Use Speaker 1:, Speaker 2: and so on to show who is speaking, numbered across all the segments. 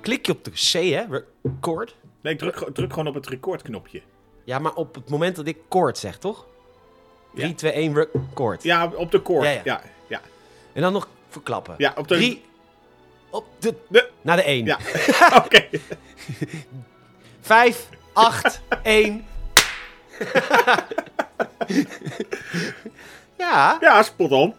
Speaker 1: klik je op de C, hè? Record.
Speaker 2: Nee, druk, ge- druk gewoon op het recordknopje.
Speaker 1: Ja, maar op het moment dat ik koord zeg, toch? 3,
Speaker 2: Ja.
Speaker 1: 2, 1, record.
Speaker 2: Ja, op de koord.
Speaker 1: Ja,
Speaker 2: Ja,
Speaker 1: ja.
Speaker 2: ja. ja, ja.
Speaker 1: En dan nog verklappen.
Speaker 2: op de...
Speaker 1: 3, op de...
Speaker 2: de-
Speaker 1: Naar de 1.
Speaker 2: Ja, oké.
Speaker 1: 5, 8, 1. Ja.
Speaker 2: Ja, spot on.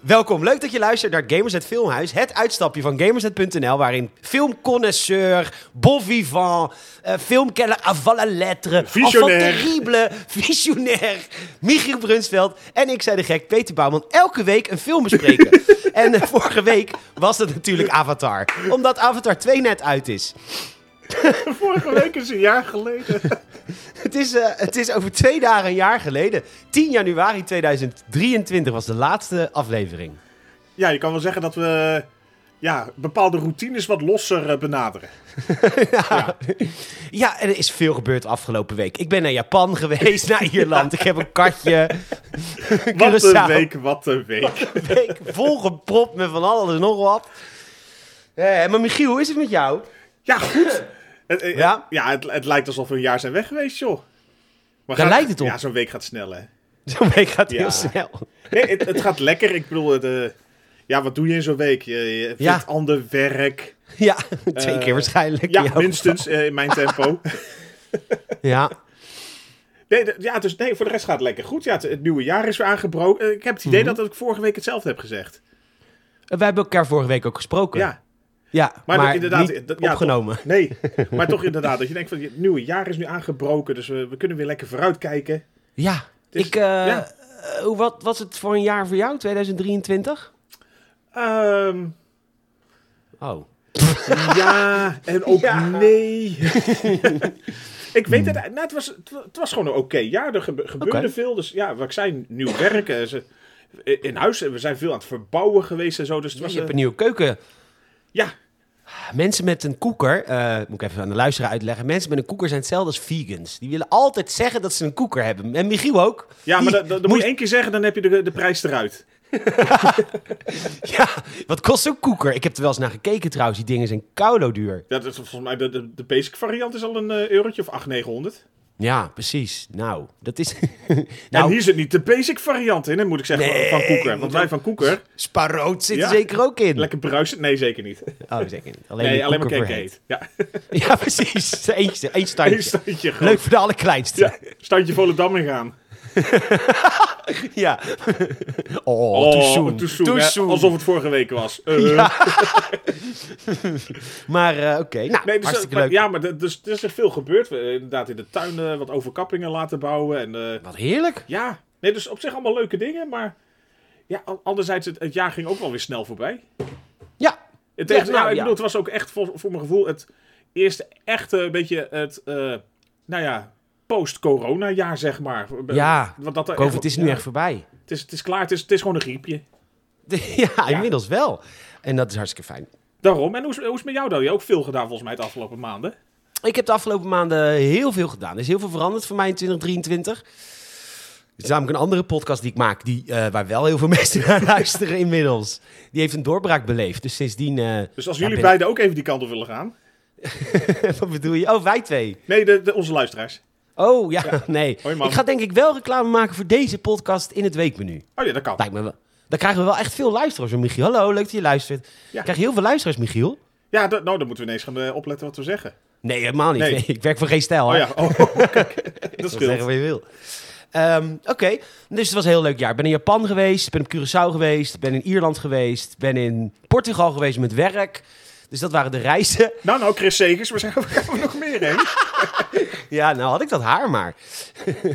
Speaker 1: Welkom, leuk dat je luistert naar Gamers het Filmhuis. Het uitstapje van Gamersnet.nl, waarin filmconnoisseur, bon vivant, eh, filmkenner à la lettre,
Speaker 2: Visionair.
Speaker 1: enfant terrible, visionair, Michiel Brunsveld en ik, zei de gek, Peter Bouwman, elke week een film bespreken. en eh, vorige week was dat natuurlijk Avatar, omdat Avatar 2 net uit is.
Speaker 2: Vorige week is een jaar geleden.
Speaker 1: Het is, eh, het is over twee dagen een jaar geleden. 10 januari 2023 was de laatste aflevering.
Speaker 2: Ja, je kan wel zeggen dat we ja, bepaalde routines wat losser eh, benaderen.
Speaker 1: Ja. ja, en er is veel gebeurd afgelopen week. Ik ben naar Japan geweest, naar Ierland. Ik heb een katje.
Speaker 2: Wat een
Speaker 1: Curaçao.
Speaker 2: week, wat een week.
Speaker 1: week volgepropt met van alles en nog wat. Eh, maar Michiel, hoe is het met jou?
Speaker 2: Ja, goed. Het, eh,
Speaker 1: Ja.
Speaker 2: ja, het, het lijkt alsof we een jaar zijn weg geweest, joh. Maar
Speaker 1: Daar
Speaker 2: gaat-
Speaker 1: lijkt het op.
Speaker 2: Ja, zo'n week gaat snel, hè.
Speaker 1: Zo'n week gaat heel
Speaker 2: Ja.
Speaker 1: snel.
Speaker 2: Nee, het, het gaat lekker. Ik bedoel, het, eh, ja, wat doe je in zo'n week? Je, je vindt
Speaker 1: Ja.
Speaker 2: ander werk.
Speaker 1: Ja, twee
Speaker 2: Eh,
Speaker 1: keer waarschijnlijk.
Speaker 2: Ja,
Speaker 1: in jouw
Speaker 2: minstens eh, in mijn tempo.
Speaker 1: geval. Ja.
Speaker 2: Nee, d- ja, dus nee, voor de rest gaat het lekker goed. Ja, het, het nieuwe jaar is weer aangebroken. Eh, Ik heb het idee
Speaker 1: Mhm.
Speaker 2: dat ik vorige week hetzelfde heb gezegd.
Speaker 1: Eh, We hebben elkaar vorige week ook gesproken.
Speaker 2: Ja,
Speaker 1: Ja, maar,
Speaker 2: Maar inderdaad,
Speaker 1: niet
Speaker 2: dat- ja,
Speaker 1: opgenomen.
Speaker 2: Nee, maar toch inderdaad. Dat je denkt van het nieuwe jaar is nu aangebroken, dus we, we kunnen weer lekker vooruitkijken.
Speaker 1: Ja,
Speaker 2: Dus,
Speaker 1: ik... eh,
Speaker 2: ja.
Speaker 1: eh, hoe wat was het voor een jaar voor jou, 2023?
Speaker 2: Ehm
Speaker 1: Oh.
Speaker 2: ja, en ook
Speaker 1: Ja. Hmm.
Speaker 2: nee. ik weet het, nou, het, was, het wa- het was gewoon een oké jaar. Er gebe- gebeurde
Speaker 1: Oké.
Speaker 2: veel. Dus ja, wat ik zei, nieuw werken. Ze, eh, in huis, we zijn veel aan het verbouwen geweest en zo. Dus het was,
Speaker 1: je hebt
Speaker 2: eh,
Speaker 1: een nieuwe keuken
Speaker 2: ja,
Speaker 1: Mensen met een koeker, eh, moet ik even aan de luisteraar uitleggen. Mensen met een koeker zijn hetzelfde als vegans. Die willen altijd zeggen dat ze een koeker hebben. En Michiel ook.
Speaker 2: ja, maar
Speaker 1: Die
Speaker 2: dat dat- dat moet je één keer zeggen, dan heb je de, de prijs eruit.
Speaker 1: Ja, wat kost zo'n koeker? Ik heb er wel eens naar gekeken trouwens. Die dingen zijn koulo duur.
Speaker 2: Dat is volgens mij, de, de, de basic variant is al een eh, eurotje of 8, 900.
Speaker 1: Ja, precies. Nou, dat is...
Speaker 2: En
Speaker 1: nou,
Speaker 2: hier zit niet de basic variant in, hè, moet ik zeggen, van- van
Speaker 1: Nee, Dus-
Speaker 2: Koeker. Want wij van Koeker,
Speaker 1: sparoot zit
Speaker 2: Ja.
Speaker 1: er zeker ook in.
Speaker 2: lekker bruisend? Nee, zeker niet.
Speaker 1: Oh, zeker niet. Alleen,
Speaker 2: Nee,
Speaker 1: die
Speaker 2: alleen maar
Speaker 1: koeker
Speaker 2: cake
Speaker 1: verheet.
Speaker 2: heet. Ja,
Speaker 1: Ja, precies. Eentje, één standje.
Speaker 2: Eén standje gewoon.
Speaker 1: Leuk voor de allerkleinste.
Speaker 2: Ja, standje Volendam in gaan.
Speaker 1: Ja. Oh,
Speaker 2: Oh,
Speaker 1: too soon.
Speaker 2: too soon,
Speaker 1: Too
Speaker 2: hè,
Speaker 1: soon.
Speaker 2: Alsof het vorige week was. Eh,
Speaker 1: Maar eh, oké, nou,
Speaker 2: nee, dus,
Speaker 1: hartstikke
Speaker 2: maar-
Speaker 1: leuk.
Speaker 2: Ja, maar d- dus, er is er veel gebeurd. We, eh, inderdaad in de tuin eh, wat overkappingen laten bouwen. En, eh,
Speaker 1: Wat heerlijk.
Speaker 2: ja, nee, dus op zich allemaal leuke dingen. Maar ja, a- anderzijds, het, het jaar ging ook wel weer snel voorbij.
Speaker 1: Ja,
Speaker 2: Het, tegen,
Speaker 1: Ja, nou,
Speaker 2: ja,
Speaker 1: ja.
Speaker 2: ik bedoel, het was ook echt voor, voor mijn gevoel het eerste echte een beetje het, eh, nou ja, post-corona jaar, zeg maar.
Speaker 1: Ja,
Speaker 2: Want dat er echt-
Speaker 1: COVID is nu
Speaker 2: ja,
Speaker 1: echt voorbij.
Speaker 2: Het is, het is klaar, het is, het is gewoon een griepje.
Speaker 1: Ja, inmiddels wel. En dat is hartstikke fijn.
Speaker 2: Daarom. En hoe is, hoe is het met jou dan? Je hebt ook veel gedaan volgens mij de afgelopen maanden.
Speaker 1: Ik heb de afgelopen maanden heel veel gedaan. Er is heel veel veranderd voor mij in 2023. Er is namelijk een andere podcast die ik maak, die, eh, waar wel heel veel mensen naar luisteren inmiddels. Die heeft een doorbraak beleefd. Dus sindsdien... eh,
Speaker 2: Dus als
Speaker 1: ja,
Speaker 2: jullie
Speaker 1: ben-
Speaker 2: beiden ook even die kant op willen gaan.
Speaker 1: Wat bedoel je? Oh, wij twee.
Speaker 2: Nee, de, de- onze luisteraars.
Speaker 1: Oh, ja, nee.
Speaker 2: Hoi, man.
Speaker 1: ik ga denk ik wel reclame maken voor deze podcast in het weekmenu.
Speaker 2: Oh ja, dat kan.
Speaker 1: Lijkt me wel. Dan krijgen we wel echt veel luisteraars. hoor, Michiel, hallo, leuk dat je luistert. Ik krijg heel veel luisteraars, Michiel.
Speaker 2: Ja, dat- nou, dan moeten we ineens gaan eh, opletten wat we zeggen.
Speaker 1: Nee, helemaal niet.
Speaker 2: Nee.
Speaker 1: Nee, ik werk voor geen stijl.
Speaker 2: Oh
Speaker 1: hè?
Speaker 2: ja, oh, kijk, dat
Speaker 1: Dat zeggen
Speaker 2: scheelt.
Speaker 1: wat je wil. Ehm, Oké, dus het was een heel leuk jaar. Ik ben in Japan geweest, ben op Curaçao geweest, ben in Ierland geweest, ben in Portugal geweest met werk. Dus dat waren de reizen.
Speaker 2: Nou, nou, Chris Segers, waar zijn we, gaan we nog meer heen?
Speaker 1: Ja, nou had ik dat haar maar.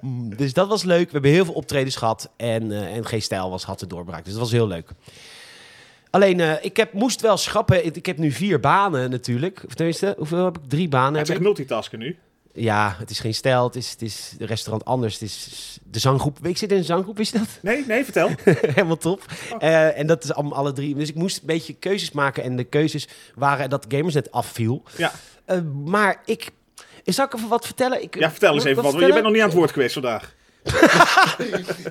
Speaker 1: Mm, Dus dat was leuk. We hebben heel veel optredens gehad en, eh, en geen stijl was had de doorbraak. Dus dat was heel leuk. Alleen, eh, ik heb, moest wel schrappen. Ik ik heb nu vier banen natuurlijk. Of tenminste, hoeveel heb ik? Drie banen.
Speaker 2: Het
Speaker 1: Heb
Speaker 2: is echt
Speaker 1: ik.
Speaker 2: multitasken nu.
Speaker 1: Ja, het is geen stijl. Het is, het is een restaurant anders. Het is de zanggroep. Ik zit in een zanggroep, wist je dat?
Speaker 2: Nee, nee, vertel.
Speaker 1: Helemaal top.
Speaker 2: Oh.
Speaker 1: Eh, en dat is allemaal alle drie. Dus ik moest een beetje keuzes maken. En de keuzes waren dat Gamersnet afviel.
Speaker 2: Ja,
Speaker 1: Eh, maar ik... Zal ik even wat vertellen? Ik,
Speaker 2: ja vertel eens
Speaker 1: Moet ik
Speaker 2: even wat. want Je
Speaker 1: vertellen?
Speaker 2: bent nog niet aan het woord geweest vandaag.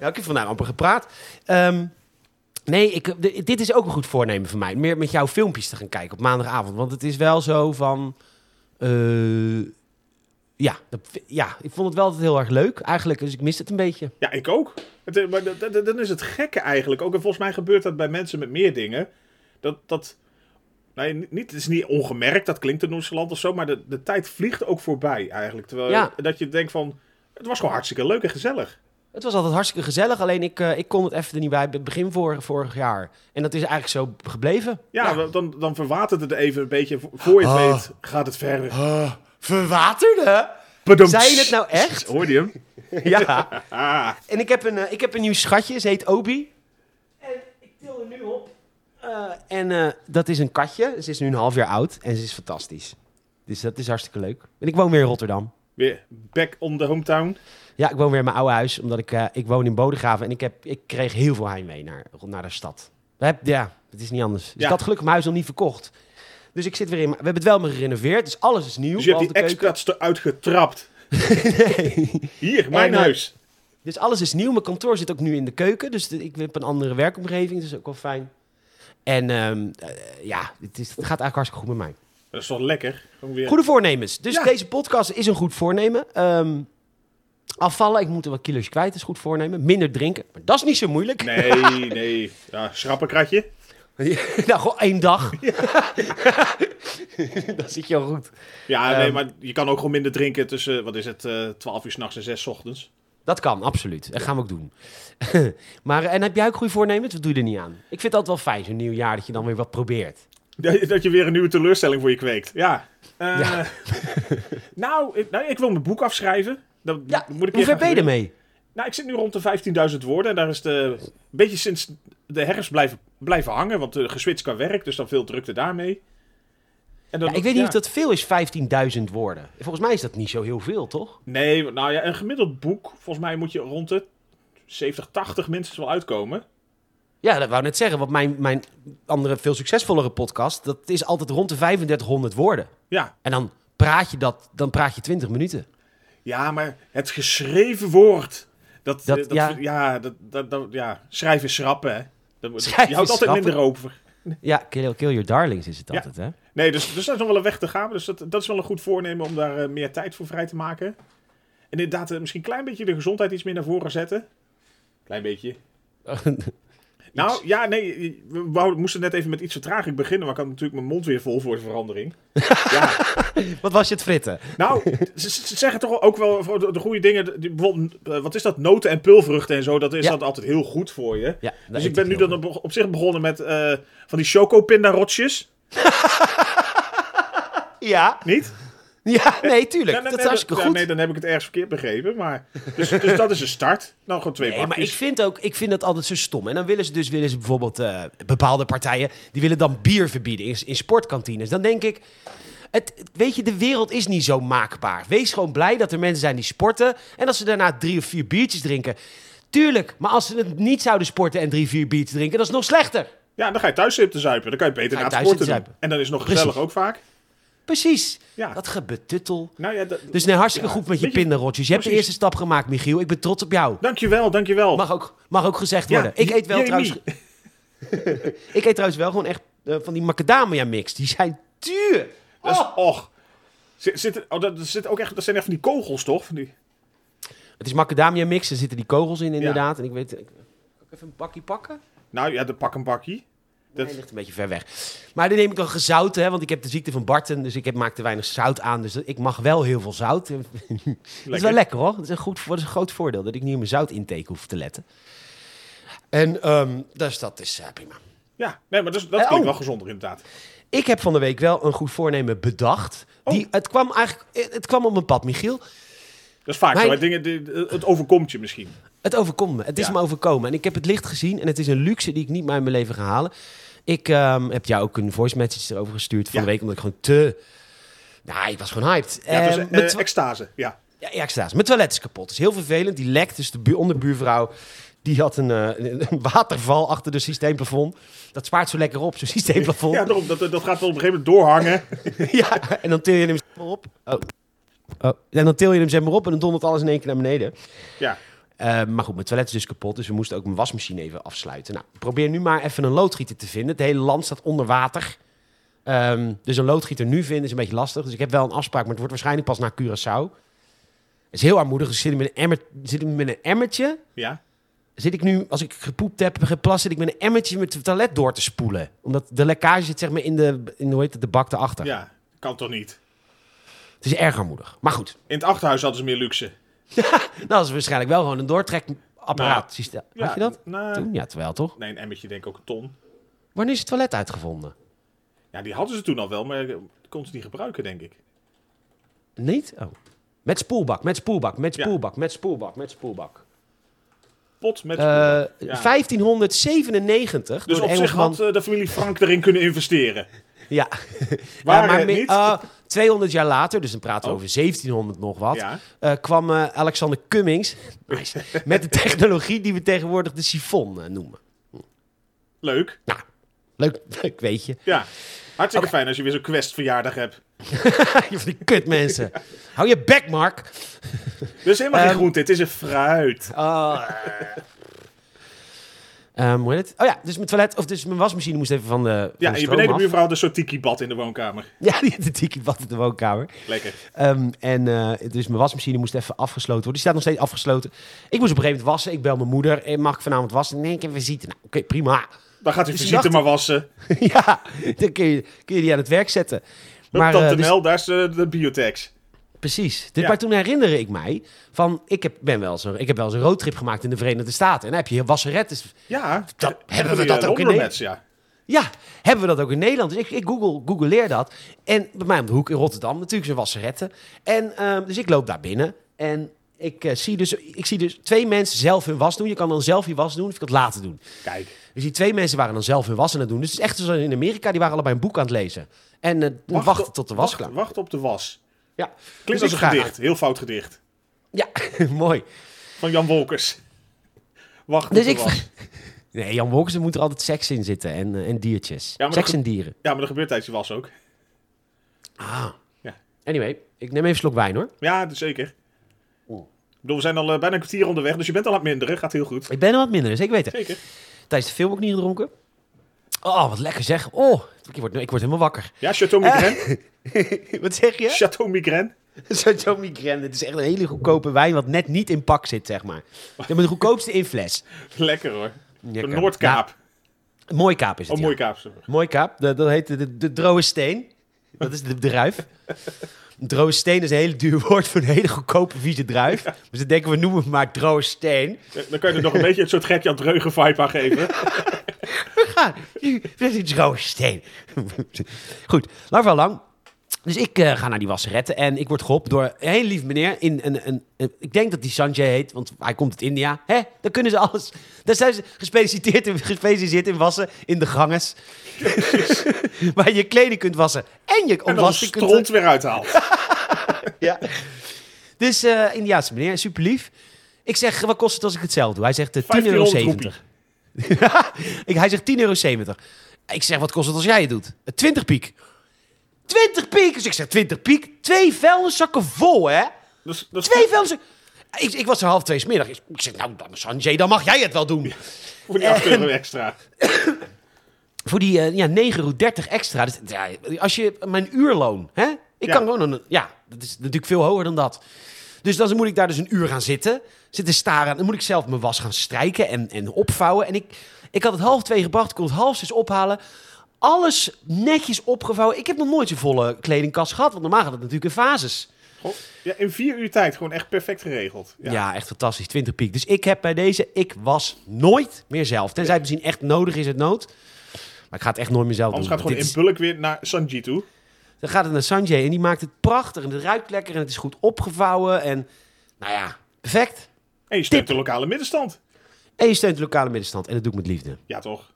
Speaker 1: Ja, ik heb vandaag amper gepraat. Ehm, Nee, ik, d- dit is ook een goed voornemen van mij. Meer met jouw filmpjes te gaan kijken op maandagavond. Want het is wel zo van... eh, ja, dat, ja, ik vond het wel altijd heel erg leuk eigenlijk. Dus ik mis het een beetje.
Speaker 2: Ja, ik ook. Het, eh, maar dat- dat- dat- dan is het gekke eigenlijk ook. En volgens mij gebeurt dat bij mensen met meer dingen. Dat. dat nee, niet, het is niet ongemerkt, dat klinkt te nonchalant of zo. Maar de, de tijd vliegt ook voorbij eigenlijk. Terwijl
Speaker 1: Ja.
Speaker 2: dat je denkt van. Het was gewoon hartstikke leuk en gezellig.
Speaker 1: Het was altijd hartstikke gezellig. Alleen ik, eh, ik kon het even er niet bij. Begin vor, vorig jaar. En dat is eigenlijk zo gebleven.
Speaker 2: Ja, Dan, dan verwatert het even een beetje. Vo- Voor je het
Speaker 1: Ah.
Speaker 2: weet gaat het verder.
Speaker 1: verwaterde?
Speaker 2: Badum.
Speaker 1: Zei je het nou echt?
Speaker 2: Hoorde je hem?
Speaker 1: Ja.
Speaker 2: Ah,
Speaker 1: En ik heb een, eh, ik heb een nieuw schatje, ze heet Obi. En ik til er nu op. Eh, en eh, dat is een katje. Ze is nu een half jaar oud en ze is fantastisch. Dus dat is hartstikke leuk. En ik woon weer in Rotterdam.
Speaker 2: weer back on the hometown.
Speaker 1: Ja, ik woon weer in mijn oude huis, omdat ik, eh, ik woon in Bodegraven. En ik, heb, ik kreeg heel veel heimwee naar, naar de stad. We heb- ja, het is niet anders. Dus
Speaker 2: Ja.
Speaker 1: ik had gelukkig mijn huis nog niet verkocht. Dus ik zit weer in... mijn- We hebben het wel maar gerenoveerd, dus alles is nieuw.
Speaker 2: Dus je hebt die
Speaker 1: behalve de keuken.
Speaker 2: expats eruit getrapt.
Speaker 1: Nee.
Speaker 2: Hier, mijn
Speaker 1: En, eh,
Speaker 2: huis.
Speaker 1: Dus alles is nieuw. Mijn kantoor zit ook nu in de keuken. Dus de- ik heb een andere werkomgeving. Dus dat is ook wel fijn. En ehm, eh, ja, het, is, het gaat eigenlijk hartstikke goed met mij.
Speaker 2: Dat is wel lekker. Gewoon weer...
Speaker 1: Goede voornemens. Dus
Speaker 2: Ja.
Speaker 1: deze podcast is een goed voornemen. Ehm, afvallen. Ik moet er wat kilo's kwijt. Dat is goed voornemen. Minder drinken. Maar dat is niet zo moeilijk.
Speaker 2: Nee, nee. Ja, schrappenkratje.
Speaker 1: nou, gewoon één dag. dat zit je al goed.
Speaker 2: Ja, nee, maar je kan ook gewoon minder drinken tussen, wat is het, eh 12 uur s'nachts en 6 ochtends.
Speaker 1: Dat kan, absoluut. Dat gaan we ook doen. maar eh, en heb jij ook goede voornemens? Wat doe je er niet aan? Ik vind dat wel fijn, zo'n nieuw jaar, dat je dan weer wat probeert.
Speaker 2: Dat dat je weer een nieuwe teleurstelling voor je kweekt. Ja. Eh,
Speaker 1: Ja.
Speaker 2: nou, ik, nou, ik wil mijn boek afschrijven. Dat
Speaker 1: Ja,
Speaker 2: moet
Speaker 1: hoe
Speaker 2: ik weer
Speaker 1: ver
Speaker 2: gaan
Speaker 1: ben je
Speaker 2: doen.
Speaker 1: ermee?
Speaker 2: Nou, ik zit nu rond de 15.000 woorden. En daar is de. Een beetje sinds de herfst blijven, blijven hangen. Want eh geswitcht qua werk, dus dan veel drukte daarmee. En dan,
Speaker 1: Ja, ik weet niet
Speaker 2: ja.
Speaker 1: of dat veel is, 15.000 woorden. Volgens mij is dat niet zo heel veel, toch?
Speaker 2: Nee, nou ja, een gemiddeld boek. Volgens mij moet je rond de 70, 80 minstens wel uitkomen.
Speaker 1: Ja, dat wou net zeggen, want mijn, mijn andere veel succesvollere podcast, dat is altijd rond de 3500 woorden.
Speaker 2: Ja.
Speaker 1: En dan praat je, dat, dan praat je 20 minuten.
Speaker 2: Ja, maar het geschreven woord. Dat,
Speaker 1: Dat-
Speaker 2: eh, dat-
Speaker 1: ja.
Speaker 2: ja. dat, dat, dat- ja, schrijven is schrappen, hè. Dat, dat-
Speaker 1: Schrijven
Speaker 2: je houdt
Speaker 1: is
Speaker 2: altijd
Speaker 1: schrappen.
Speaker 2: minder over.
Speaker 1: Ja, kill, kill your darlings is het
Speaker 2: Ja.
Speaker 1: altijd, hè?
Speaker 2: Nee, dus, dus daar is nog wel een weg te gaan. Dus dat, dat is wel een goed voornemen om daar eh, meer tijd voor vrij te maken. En inderdaad, eh, misschien een klein beetje de gezondheid iets meer naar voren zetten. Klein beetje. Nou, ja, nee, we wou- moesten net even met iets vertraging beginnen, maar ik had natuurlijk mijn mond weer vol voor de verandering. ja,
Speaker 1: Wat was je het fritten?
Speaker 2: Nou, ze, ze zeggen toch ook wel voor de, de goede dingen. die- Bijvoorbeeld, eh, wat is dat? Noten en pulvruchten en zo. Dat is
Speaker 1: Ja.
Speaker 2: dat altijd heel goed voor je.
Speaker 1: Ja, daar
Speaker 2: dus
Speaker 1: eet
Speaker 2: ik ben nu
Speaker 1: heel
Speaker 2: dan op, op zich begonnen met eh, van die chocopindarotjes.
Speaker 1: veel. Ja,
Speaker 2: Niet?
Speaker 1: ja, nee, tuurlijk. dat is hartstikke
Speaker 2: nee,
Speaker 1: goed.
Speaker 2: Nee, dan heb ik het ergens verkeerd begrepen. Maar, dus, dus dat is een start. Nou, gewoon twee
Speaker 1: Nee, maar ik
Speaker 2: bakjes.
Speaker 1: vind, ook, ik vind dat altijd zo stom. En dan willen ze dus willen ze bijvoorbeeld eh, bepaalde partijen... die willen dan bier verbieden in, in sportkantines. Dan denk ik... Het, weet je, de wereld is niet zo maakbaar. Wees gewoon blij dat er mensen zijn die sporten. En als ze daarna drie of vier biertjes drinken... Tuurlijk, maar als ze het niet zouden sporten en drie, vier biertjes drinken... dat is nog slechter.
Speaker 2: Ja, dan ga je thuis zitten zuipen. Dan kan je beter
Speaker 1: Ga
Speaker 2: na
Speaker 1: je
Speaker 2: het
Speaker 1: thuis
Speaker 2: sporten
Speaker 1: zitten
Speaker 2: doen.
Speaker 1: zuipen.
Speaker 2: En dan is het nog
Speaker 1: Precies.
Speaker 2: gezellig ook vaak.
Speaker 1: Precies.
Speaker 2: Ja.
Speaker 1: Dat gebetuttel.
Speaker 2: Nou ja, dat,
Speaker 1: Dus nee, hartstikke
Speaker 2: Ja,
Speaker 1: goed met je
Speaker 2: weet je-
Speaker 1: pindarotjes. Je hebt de
Speaker 2: precies.
Speaker 1: eerste stap gemaakt, Michiel. Ik ben trots op jou.
Speaker 2: dankjewel, dankjewel.
Speaker 1: Oh, Mag ook, mag ook gezegd
Speaker 2: Ja,
Speaker 1: worden. ik eet wel
Speaker 2: Jamie.
Speaker 1: trouwens. ik eet trouwens wel gewoon echt eh, van die macadamia mix. Die zijn duur.
Speaker 2: Dat is-
Speaker 1: Oh.
Speaker 2: och. Zit, zit, oh, dat, dat zit ook echt, dat zijn echt van die kogels, toch? Van die,
Speaker 1: Het is macadamia mix. Er zitten die kogels in inderdaad. En ik weet. Ik, kan ik even een bakje pakken?
Speaker 2: nou ja, de pak een bakkie. Dat-
Speaker 1: Nee, ligt een beetje ver weg. Maar die neem ik dan gezouten, hè, want ik heb de ziekte van Barton. Dus ik heb, maak te weinig zout aan. Dus ik mag wel heel veel zout. Dat is wel lekker hoor. Dat is een, goed, dat is een groot voordeel dat ik niet op mijn zoutintake hoef te letten. En ehm, dus dat is eh, prima.
Speaker 2: Ja, nee, maar dat, is- dat
Speaker 1: Eh,
Speaker 2: klinkt
Speaker 1: oh.
Speaker 2: wel gezonder inderdaad.
Speaker 1: Ik heb van de week wel een goed voornemen bedacht.
Speaker 2: Oh.
Speaker 1: Die, het kwam eigenlijk eh, het kwam op mijn pad, Michiel.
Speaker 2: Dat is vaak
Speaker 1: Mijn-
Speaker 2: zo. hè, Dingen, die- eh, het overkomt je misschien.
Speaker 1: Het overkomt me. Het is
Speaker 2: Ja.
Speaker 1: me overkomen. En ik heb het licht gezien. En het is een luxe die ik niet meer in mijn leven ga halen. Ik ehm, heb jou ook een voice message erover gestuurd van
Speaker 2: Ja.
Speaker 1: de week. Omdat ik gewoon te... Nou, ik was gewoon hyped.
Speaker 2: Ja, het
Speaker 1: Eh,
Speaker 2: was, eh,
Speaker 1: mijn twa-
Speaker 2: extase. Ja.
Speaker 1: Ja, ja, ik sta Mijn toilet is kapot. is heel vervelend. Die lekt. Dus de bu- onderbuurvrouw die had een, eh, een- een waterval achter de systeemplafond. Dat spaart zo lekker op, zo'n systeemplafond.
Speaker 2: ja, daarom. Dat, dat gaat wel op een gegeven moment doorhangen.
Speaker 1: Ja, en dan til je hem zeg maar op. Oh. Oh. En dan til je hem zeg maar op en dan dondert alles in één keer naar beneden.
Speaker 2: Ja.
Speaker 1: Eh, maar goed, mijn toilet is dus kapot, dus we moesten ook mijn wasmachine even afsluiten. Nou, probeer nu maar even een loodgieter te vinden. Het hele land staat onder water. Ehm, dus een loodgieter nu vinden is een beetje lastig. Dus ik heb wel een afspraak, maar het wordt waarschijnlijk pas naar Curaçao. Het is heel armoedig. Dus zit ik met een, emmer, zit ik met een emmertje.
Speaker 2: Ja.
Speaker 1: Zit ik nu, als ik gepoept heb, geplast, zit ik met een emmertje met het toilet door te spoelen. Omdat de lekkage zit zeg maar in de, in, hoe heet het, de bak daarachter.
Speaker 2: ja, kan toch niet.
Speaker 1: Het is erg armoedig. Maar goed,
Speaker 2: In het achterhuis hadden ze meer luxe.
Speaker 1: nou, dat is waarschijnlijk wel gewoon een doortrekapparaat. systeem.
Speaker 2: Ja,
Speaker 1: Had je dat?
Speaker 2: nou,
Speaker 1: Toen? Ja, terwijl toch?
Speaker 2: nee, een emmertje denk ik ook een ton.
Speaker 1: Wanneer is het toilet uitgevonden?
Speaker 2: Ja, die hadden ze toen al wel, maar eh, konden ze niet gebruiken, denk ik.
Speaker 1: Niet? Oh. Met spoelbak, met spoelbak, met
Speaker 2: Ja.
Speaker 1: spoelbak, met spoelbak, met spoelbak.
Speaker 2: Pot met...
Speaker 1: Eh, 1597
Speaker 2: dus
Speaker 1: door
Speaker 2: op
Speaker 1: de
Speaker 2: zich
Speaker 1: Engelsman.
Speaker 2: had eh, de familie Frank erin kunnen investeren.
Speaker 1: Ja.
Speaker 2: Waren
Speaker 1: Ja,
Speaker 2: het
Speaker 1: mi-
Speaker 2: niet?
Speaker 1: eh, 200 jaar later, dus dan praten we
Speaker 2: Oh.
Speaker 1: over 1700 nog wat,
Speaker 2: Ja.
Speaker 1: eh, kwam eh, Alexander Cummings nice, met de technologie die we tegenwoordig de sifon eh, noemen.
Speaker 2: Leuk.
Speaker 1: Nou, leuk, leuk weet je.
Speaker 2: Ja. Hartstikke fijn als je weer zo'n questverjaardag hebt.
Speaker 1: je van die kut mensen. Hou je bek, Mark.
Speaker 2: Dus helemaal
Speaker 1: Ehm,
Speaker 2: geen groente, het is een fruit.
Speaker 1: Oh. Ehm, hoe heet het? Oh ja, dus mijn toilet, of dus mijn wasmachine moest even van de. van de
Speaker 2: Ja, en je
Speaker 1: stroom af.
Speaker 2: benedenbuurvrouw had een soort tiki-bad in de woonkamer.
Speaker 1: Ja, die had een tikkie wat in de woonkamer.
Speaker 2: Lekker.
Speaker 1: Ehm, en eh, dus mijn wasmachine moest even afgesloten worden. Die staat nog steeds afgesloten. Ik moest op een gegeven moment wassen. Ik bel mijn moeder. Eh, Mag ik vanavond wassen? Nee, ik heb visite. Nou, oké, prima.
Speaker 2: Dan gaat u
Speaker 1: Dus je
Speaker 2: visite
Speaker 1: dacht-
Speaker 2: maar wassen.
Speaker 1: ja, dan kun je, kun je die aan het werk zetten.
Speaker 2: Maar,
Speaker 1: eh,
Speaker 2: Tante
Speaker 1: dus-
Speaker 2: Nel, daar is eh, de biotex.
Speaker 1: Precies. Dus,
Speaker 2: Ja.
Speaker 1: Maar toen herinnerde ik mij van, ik heb, ben wel eens een, ik heb wel eens een roadtrip gemaakt in de Verenigde Staten. En dan heb je wasserettes.
Speaker 2: Ja.
Speaker 1: Dat-
Speaker 2: eh,
Speaker 1: hebben we
Speaker 2: die,
Speaker 1: dat
Speaker 2: eh,
Speaker 1: ook in
Speaker 2: Londermats, ja.
Speaker 1: Ja, hebben we dat ook in Nederland? Dus ik, ik google, googleer dat. En bij mij om de hoek in Rotterdam natuurlijk zijn wasseretten. En ehm, dus ik loop daar binnen en ik, eh, zie dus, ik zie dus twee mensen zelf hun was doen. Je kan dan zelf je was doen of je kan het laten doen.
Speaker 2: Kijk.
Speaker 1: Dus die twee mensen waren dan zelf hun was aan het doen. Dus het is echt zoals in Amerika, die waren allebei een boek aan het lezen. En eh, wachten
Speaker 2: op-
Speaker 1: tot de was
Speaker 2: wacht-
Speaker 1: klaar.
Speaker 2: Wacht op de was.
Speaker 1: Ja, Dus
Speaker 2: Klinkt
Speaker 1: ik
Speaker 2: als een
Speaker 1: ga-
Speaker 2: gedicht. Heel fout gedicht.
Speaker 1: Ja, mooi.
Speaker 2: Van Jan Wolkers. Wacht op
Speaker 1: Dus
Speaker 2: de
Speaker 1: ik-
Speaker 2: was.
Speaker 1: Nee, Jan Wolkers, er moet er altijd seks in zitten en, eh, en diertjes.
Speaker 2: maar
Speaker 1: seks
Speaker 2: dat-
Speaker 1: en dieren.
Speaker 2: Ja, maar dat gebeurt tijdens de was ook.
Speaker 1: Anyway, ik neem even een slok wijn hoor.
Speaker 2: Ja, dat zeker.
Speaker 1: Oeh.
Speaker 2: Ik bedoel, we zijn al eh, bijna een kwartier onderweg, dus je bent al aan het minderen. Gaat heel goed.
Speaker 1: Ik ben er wat minder, zeker weten.
Speaker 2: Zeker.
Speaker 1: Tijdens de film ook niet gedronken. Oh, wat lekker zeg. Oh, ik word, ik word helemaal wakker.
Speaker 2: Ja, Chateau Migraine.
Speaker 1: wat zeg je?
Speaker 2: Chateau Migraine.
Speaker 1: Zo'n migraine. Het is echt een hele goedkope wijn wat net niet in pak zit, zeg maar. Ja, maar de goedkoopste in fles.
Speaker 2: Lekker hoor.
Speaker 1: Lekker.
Speaker 2: Een Noordkaap.
Speaker 1: Ja, mooi kaap is het,
Speaker 2: oh,
Speaker 1: ja.
Speaker 2: mooi kaap. sorry.
Speaker 1: Mooi kaap. Dat, dat heet de, de, de droge steen. Dat is de, de druif. Droge steen is een heel duur woord voor een hele goedkope vieze druif. Dus dan denken we, noemen het maar droge steen.
Speaker 2: Eh, Dan kan je er nog een beetje een soort Gert-Jan Dreugen vibe aan geven.
Speaker 1: Ja, dat is een droge steen. Goed, lang wel lang. Dus ik eh, ga naar die wasseretten en ik word geholpen door een heel lief meneer. In een, een, een- ik denk dat die Sanjay heet, want hij komt uit India. Hè? Dan kunnen ze alles. Daar zijn ze gespecialiseerd in, gespecialiseerd in wassen in de ganges. Waar je kleding kunt wassen en je
Speaker 2: En dan
Speaker 1: ontwassen kunt.
Speaker 2: stront weer uithaalt.
Speaker 1: Ja. Dus eh Indiaanse meneer, super lief. Ik zeg, wat kost het als ik het zelf doe? Hij zegt eh, 10,70 euro.
Speaker 2: 1500 roepie.
Speaker 1: Ik- Hij zegt 10,70 euro. Ik zeg, wat kost het als jij het doet? Eh, 20 piek. 20 piek! Dus ik zeg 20 piek. Twee vuilniszakken vol, hè?
Speaker 2: Dus, dus
Speaker 1: Twee vuilniszakken. Ik, ik was er half twee 's middag. Ik zeg, nou, dan, Sanjay, dan mag jij het wel doen.
Speaker 2: voor die 8 euro extra.
Speaker 1: Voor die eh, ja, 9,30 euro extra. Dus, ja, als je mijn uurloon, hè? Ik
Speaker 2: Ja.
Speaker 1: kan gewoon een. Ja, dat is natuurlijk veel hoger dan dat. Dus dan moet ik daar dus een uur gaan zitten. Zitten staren. aan- Dan moet ik zelf mijn was gaan strijken en, en opvouwen. En ik, ik had het half twee gebracht. Ik kon het half zes ophalen. Alles netjes opgevouwen. Ik heb nog nooit zo'n volle kledingkast gehad. Want normaal gaat het natuurlijk in fases.
Speaker 2: Goh, Ja, in vier uur tijd gewoon echt perfect geregeld.
Speaker 1: Ja,
Speaker 2: Ja.
Speaker 1: echt fantastisch. 20 piek. Dus ik heb bij deze, ik was nooit meer zelf. Tenzij het misschien echt nodig is, het nood. Maar ik ga het echt nooit meer zelf
Speaker 2: Anders
Speaker 1: doen.
Speaker 2: gaat het gewoon
Speaker 1: Dit
Speaker 2: in
Speaker 1: is-
Speaker 2: bulk weer naar Sanji toe.
Speaker 1: Dan gaat het naar Sanjay en die maakt het prachtig. En het ruikt lekker en het is goed opgevouwen. En nou ja, perfect.
Speaker 2: En je steunt de lokale middenstand.
Speaker 1: En je steunt de lokale middenstand. En dat doe ik met liefde.
Speaker 2: Ja, toch?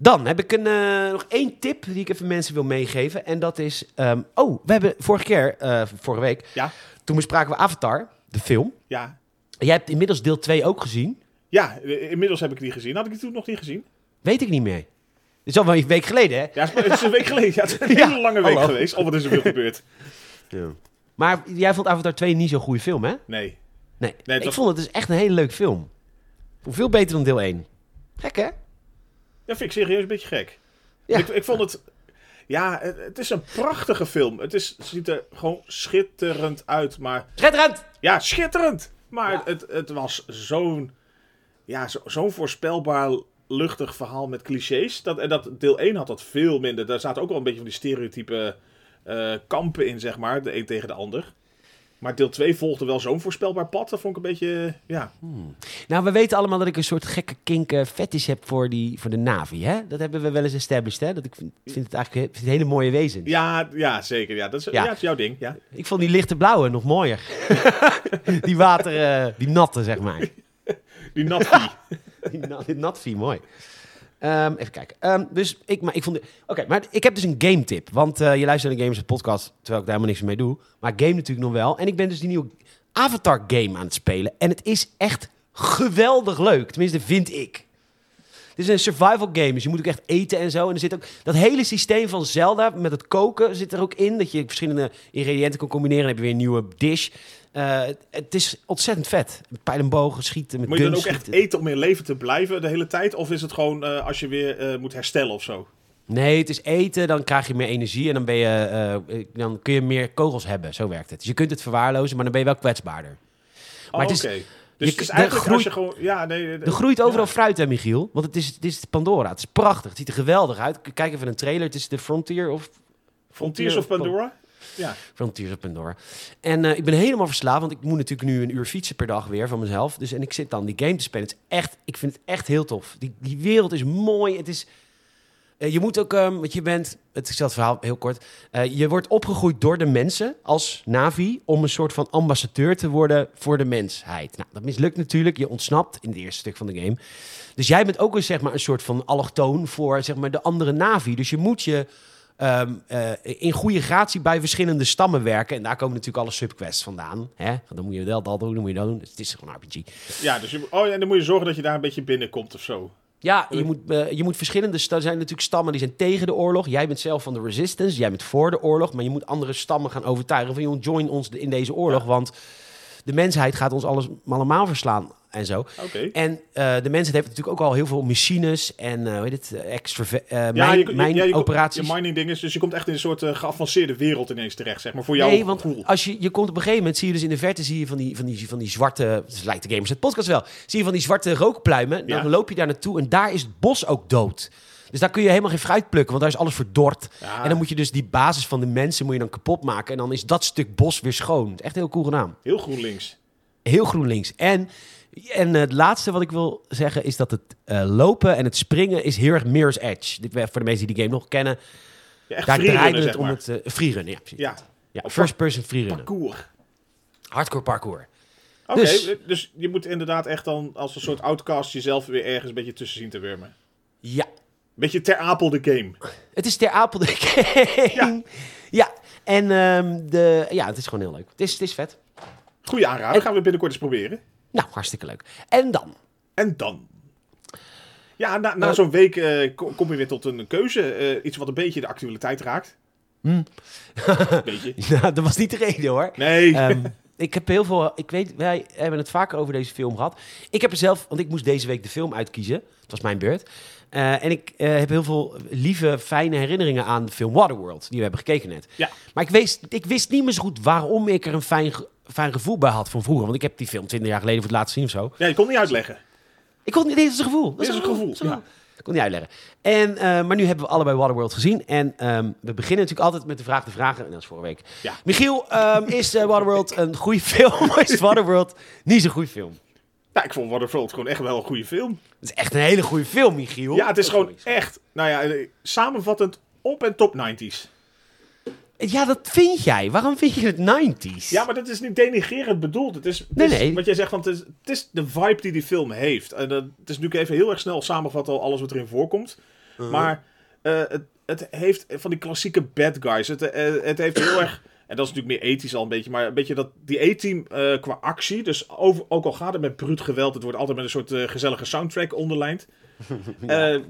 Speaker 1: Dan heb ik een, eh, nog één tip die ik even mensen wil meegeven. En dat is... ehm, oh, we hebben vorige keer, eh, vorige week...
Speaker 2: Ja.
Speaker 1: Toen bespraken we Avatar, de film.
Speaker 2: Ja.
Speaker 1: Jij hebt inmiddels deel 2 ook gezien.
Speaker 2: Ja, eh, inmiddels heb ik die gezien. Had ik die toen nog niet gezien?
Speaker 1: Weet ik niet meer. Dit is al wel een week geleden, hè?
Speaker 2: Ja, het is- het is een week geleden. Ja, het is een
Speaker 1: Ja,
Speaker 2: hele lange week
Speaker 1: hallo.
Speaker 2: geweest. Oh, wat is er veel gebeurd?
Speaker 1: Maar jij vond Avatar 2 niet zo'n goede film, hè?
Speaker 2: Nee.
Speaker 1: Nee,
Speaker 2: Nee, het
Speaker 1: ik
Speaker 2: was-
Speaker 1: vond het dus echt een hele leuke film. Ik vond Veel beter dan deel 1. Gek, hè?
Speaker 2: Dat vind ik serieus een beetje gek.
Speaker 1: Ja.
Speaker 2: Ik, ik vond het... Ja, het, het is een prachtige film. Het, is, het ziet er gewoon schitterend uit, maar...
Speaker 1: Schitterend!
Speaker 2: Ja, schitterend. Maar
Speaker 1: Ja.
Speaker 2: Het, het was zo'n ja, zo, zo'n voorspelbaar luchtig verhaal met clichés. Dat, en dat, deel 1 had dat veel minder. Daar zaten ook wel een beetje van die stereotype eh, kampen in, zeg maar. De een tegen de ander. Maar deel 2 volgde wel zo'n voorspelbaar pad. Dat vond ik een beetje, ja...
Speaker 1: Nou, we weten allemaal dat ik een soort gekke kink eh, fetish heb voor, die, voor de Navi, hè? Dat hebben we wel eens established, hè? Dat ik vind, vind het eigenlijk ik vind het hele mooie wezen.
Speaker 2: Ja, ja zeker. Ja, dat is,
Speaker 1: Ja.
Speaker 2: ja. dat is jouw ding. Ja.
Speaker 1: Ik vond die lichte blauwe nog mooier. die water, eh, die natte, zeg maar.
Speaker 2: Die nattie.
Speaker 1: Die na- die natvie, mooi. Ehm, even kijken. Ehm, dus ik, maar ik vond. de- Oké, maar ik heb dus een game tip. Want eh, je luistert naar de Games Podcast, terwijl ik daar helemaal niks mee doe. Maar ik game natuurlijk nog wel. En ik ben dus die nieuwe Avatar game aan het spelen. En het is echt geweldig leuk. Tenminste, vind ik. Het is een survival game, dus je moet ook echt eten en zo. En er zit ook dat hele systeem van Zelda met het koken zit er ook in. Dat je verschillende ingrediënten kan combineren en heb je weer een nieuwe dish. Eh, het is ontzettend vet. Pijlenbogen schieten met
Speaker 2: Moet je dan
Speaker 1: guns
Speaker 2: ook echt
Speaker 1: schieten.
Speaker 2: eten om in leven te blijven de hele tijd? Of is het gewoon eh, als je weer eh, moet herstellen of zo?
Speaker 1: Nee, het is eten, dan krijg je meer energie en dan, ben je, eh, eh, dan kun je meer kogels hebben. Zo werkt het. Dus je kunt het verwaarlozen, maar dan ben je wel kwetsbaarder. Maar
Speaker 2: Oh,
Speaker 1: het
Speaker 2: Oké.
Speaker 1: is- je-
Speaker 2: Dus het is
Speaker 1: er
Speaker 2: eigenlijk
Speaker 1: groeit-
Speaker 2: als je gewoon... Ja, nee,
Speaker 1: Er groeit overal fruit, hè, Michiel? Want het is, het is Pandora. Het is prachtig. Het ziet er geweldig uit. K- Kijk even een trailer. Het is de Frontier of...
Speaker 2: Frontiers of Pandora? Ja.
Speaker 1: Frontiers of Pandora. En eh, ik ben helemaal verslaafd, want ik moet natuurlijk nu een uur fietsen per dag weer van mezelf. Dus, en ik zit dan die game te spelen. Het is echt, ik vind het echt heel tof. Die, die wereld is mooi. Het is, eh, je moet ook, ehm, want je bent, het, ik zal het verhaal heel kort. Eh, je wordt opgegroeid door de mensen als Navi om een soort van ambassadeur te worden voor de mensheid. Nou, dat mislukt natuurlijk. Je ontsnapt in het eerste stuk van de game. Dus jij bent ook een, zeg maar, een soort van allochtoon voor zeg maar, de andere Navi. Dus je moet je ehm, eh, in goede gratie bij verschillende stammen werken. En daar komen natuurlijk alle subquests vandaan. Hè? Dan moet je wel dat doen, dan moet je dat doen. Dus het is gewoon een RPG.
Speaker 2: Ja, dus je, oh ja, en dan moet je zorgen dat je daar een beetje binnenkomt of zo.
Speaker 1: Ja, je
Speaker 2: Hm.
Speaker 1: moet, eh, je moet verschillende... sta- Er zijn natuurlijk stammen die zijn tegen de oorlog. Jij bent zelf van de resistance, jij bent voor de oorlog. Maar je moet andere stammen gaan overtuigen van... joh, join ons de- in deze oorlog, want de mensheid gaat ons alles allemaal verslaan en zo.
Speaker 2: Oké.
Speaker 1: En eh, de mensheid heeft natuurlijk ook al heel veel machines en eh, hoe heet het, eh, extra eh,
Speaker 2: ja,
Speaker 1: mijn, mijn
Speaker 2: ja, je komt-
Speaker 1: operaties.
Speaker 2: Je mining ding is, dus je komt echt in een soort eh, geavanceerde wereld ineens terecht, zeg maar, voor jouw
Speaker 1: nee, want
Speaker 2: gevoel.
Speaker 1: als je, je komt op een gegeven moment, zie je dus in de verte zie je van die, van die, van die zwarte, het lijkt de gamers het podcast wel, zie je van die zwarte rookpluimen, dan
Speaker 2: Ja.
Speaker 1: loop je daar naartoe en daar is het bos ook dood. Dus daar kun je helemaal geen fruit plukken, want daar is alles verdord.
Speaker 2: Ja.
Speaker 1: En dan moet je dus die basis van de mensen moet je dan kapot maken. En dan is dat stuk bos weer schoon. Echt heel cool gedaan.
Speaker 2: Heel GroenLinks.
Speaker 1: Heel GroenLinks. En, en het laatste wat ik wil zeggen is dat het eh, lopen en het springen is heel erg Mirror's Edge. Dit, voor de mensen die die game nog kennen,
Speaker 2: Ja, echt
Speaker 1: daar draaide
Speaker 2: freerunnen,
Speaker 1: het
Speaker 2: zeg
Speaker 1: om
Speaker 2: maar.
Speaker 1: het eh, freerunnen. Ja, precies.
Speaker 2: Ja,
Speaker 1: Ja, first person freerunnen.
Speaker 2: parcours.
Speaker 1: Hardcore parkour.
Speaker 2: Oké,
Speaker 1: Dus-
Speaker 2: dus, je moet inderdaad echt dan als een soort outcast jezelf weer ergens een beetje tussen zien te wurmen.
Speaker 1: Ja,
Speaker 2: Beetje ter apel de game.
Speaker 1: het is ter apel de game. Ja,
Speaker 2: Ja.
Speaker 1: en ehm, de, ja, het is gewoon heel leuk. Het is, het is vet.
Speaker 2: Goeie aanrader, gaan we binnenkort eens proberen.
Speaker 1: Nou, hartstikke leuk. En dan?
Speaker 2: En dan? Ja, na, na
Speaker 1: Eh,
Speaker 2: zo'n week eh, ko- kom je weer tot een keuze. eh, iets wat een beetje de actualiteit raakt.
Speaker 1: Hmm.
Speaker 2: beetje.
Speaker 1: Nou, dat was niet de reden hoor.
Speaker 2: Nee.
Speaker 1: Ehm, ik heb heel veel. Ik weet, wij hebben het vaker over deze film gehad. Ik heb er zelf, want ik moest deze week de film uitkiezen. Het was mijn beurt. Eh, en ik eh, heb heel veel lieve, fijne herinneringen aan de film Waterworld, die we hebben gekeken net.
Speaker 2: Ja.
Speaker 1: Maar ik wist, ik wist niet meer zo goed waarom ik er een fijn, ge- fijn gevoel bij had van vroeger. Want ik heb die film 20 jaar geleden voor het laatst gezien of zo.
Speaker 2: ja, je kon het niet uitleggen.
Speaker 1: Ik kon niet, dit is een gevoel. Dat
Speaker 2: Dit is een gevoel,
Speaker 1: Dat is een
Speaker 2: ja.
Speaker 1: Ik kon niet uitleggen. En, eh, maar nu hebben we allebei Waterworld gezien. En ehm, we beginnen natuurlijk altijd met de vraag te vragen. En dat is vorige week.
Speaker 2: Ja.
Speaker 1: Michiel, ehm, is eh, Waterworld een goede film? Of is Waterworld niet zo'n goede film?
Speaker 2: Nou, ik vond Waterworld gewoon echt wel een goede film.
Speaker 1: Het is echt een hele goede film, Michiel.
Speaker 2: Ja, het is
Speaker 1: Dat
Speaker 2: gewoon
Speaker 1: niks.
Speaker 2: echt, nou ja, eh, samenvattend op en top 90s.
Speaker 1: Ja, dat vind jij. Waarom vind je het 90s?
Speaker 2: Ja, maar dat is niet denigrerend bedoeld. Het is, het
Speaker 1: Nee,
Speaker 2: is
Speaker 1: nee.
Speaker 2: wat jij zegt, want het is, het is de vibe die die film heeft. En dat, het is natuurlijk even heel erg snel samenvatten al alles wat erin voorkomt. Maar eh, het, het heeft van die klassieke bad guys. Het, eh, het heeft heel erg, en dat is natuurlijk meer ethisch al een beetje, maar een beetje dat, die A-team eh, qua actie. Dus over, ook al gaat het met bruut geweld, het wordt altijd met een soort eh, gezellige soundtrack onderlijnd. ja,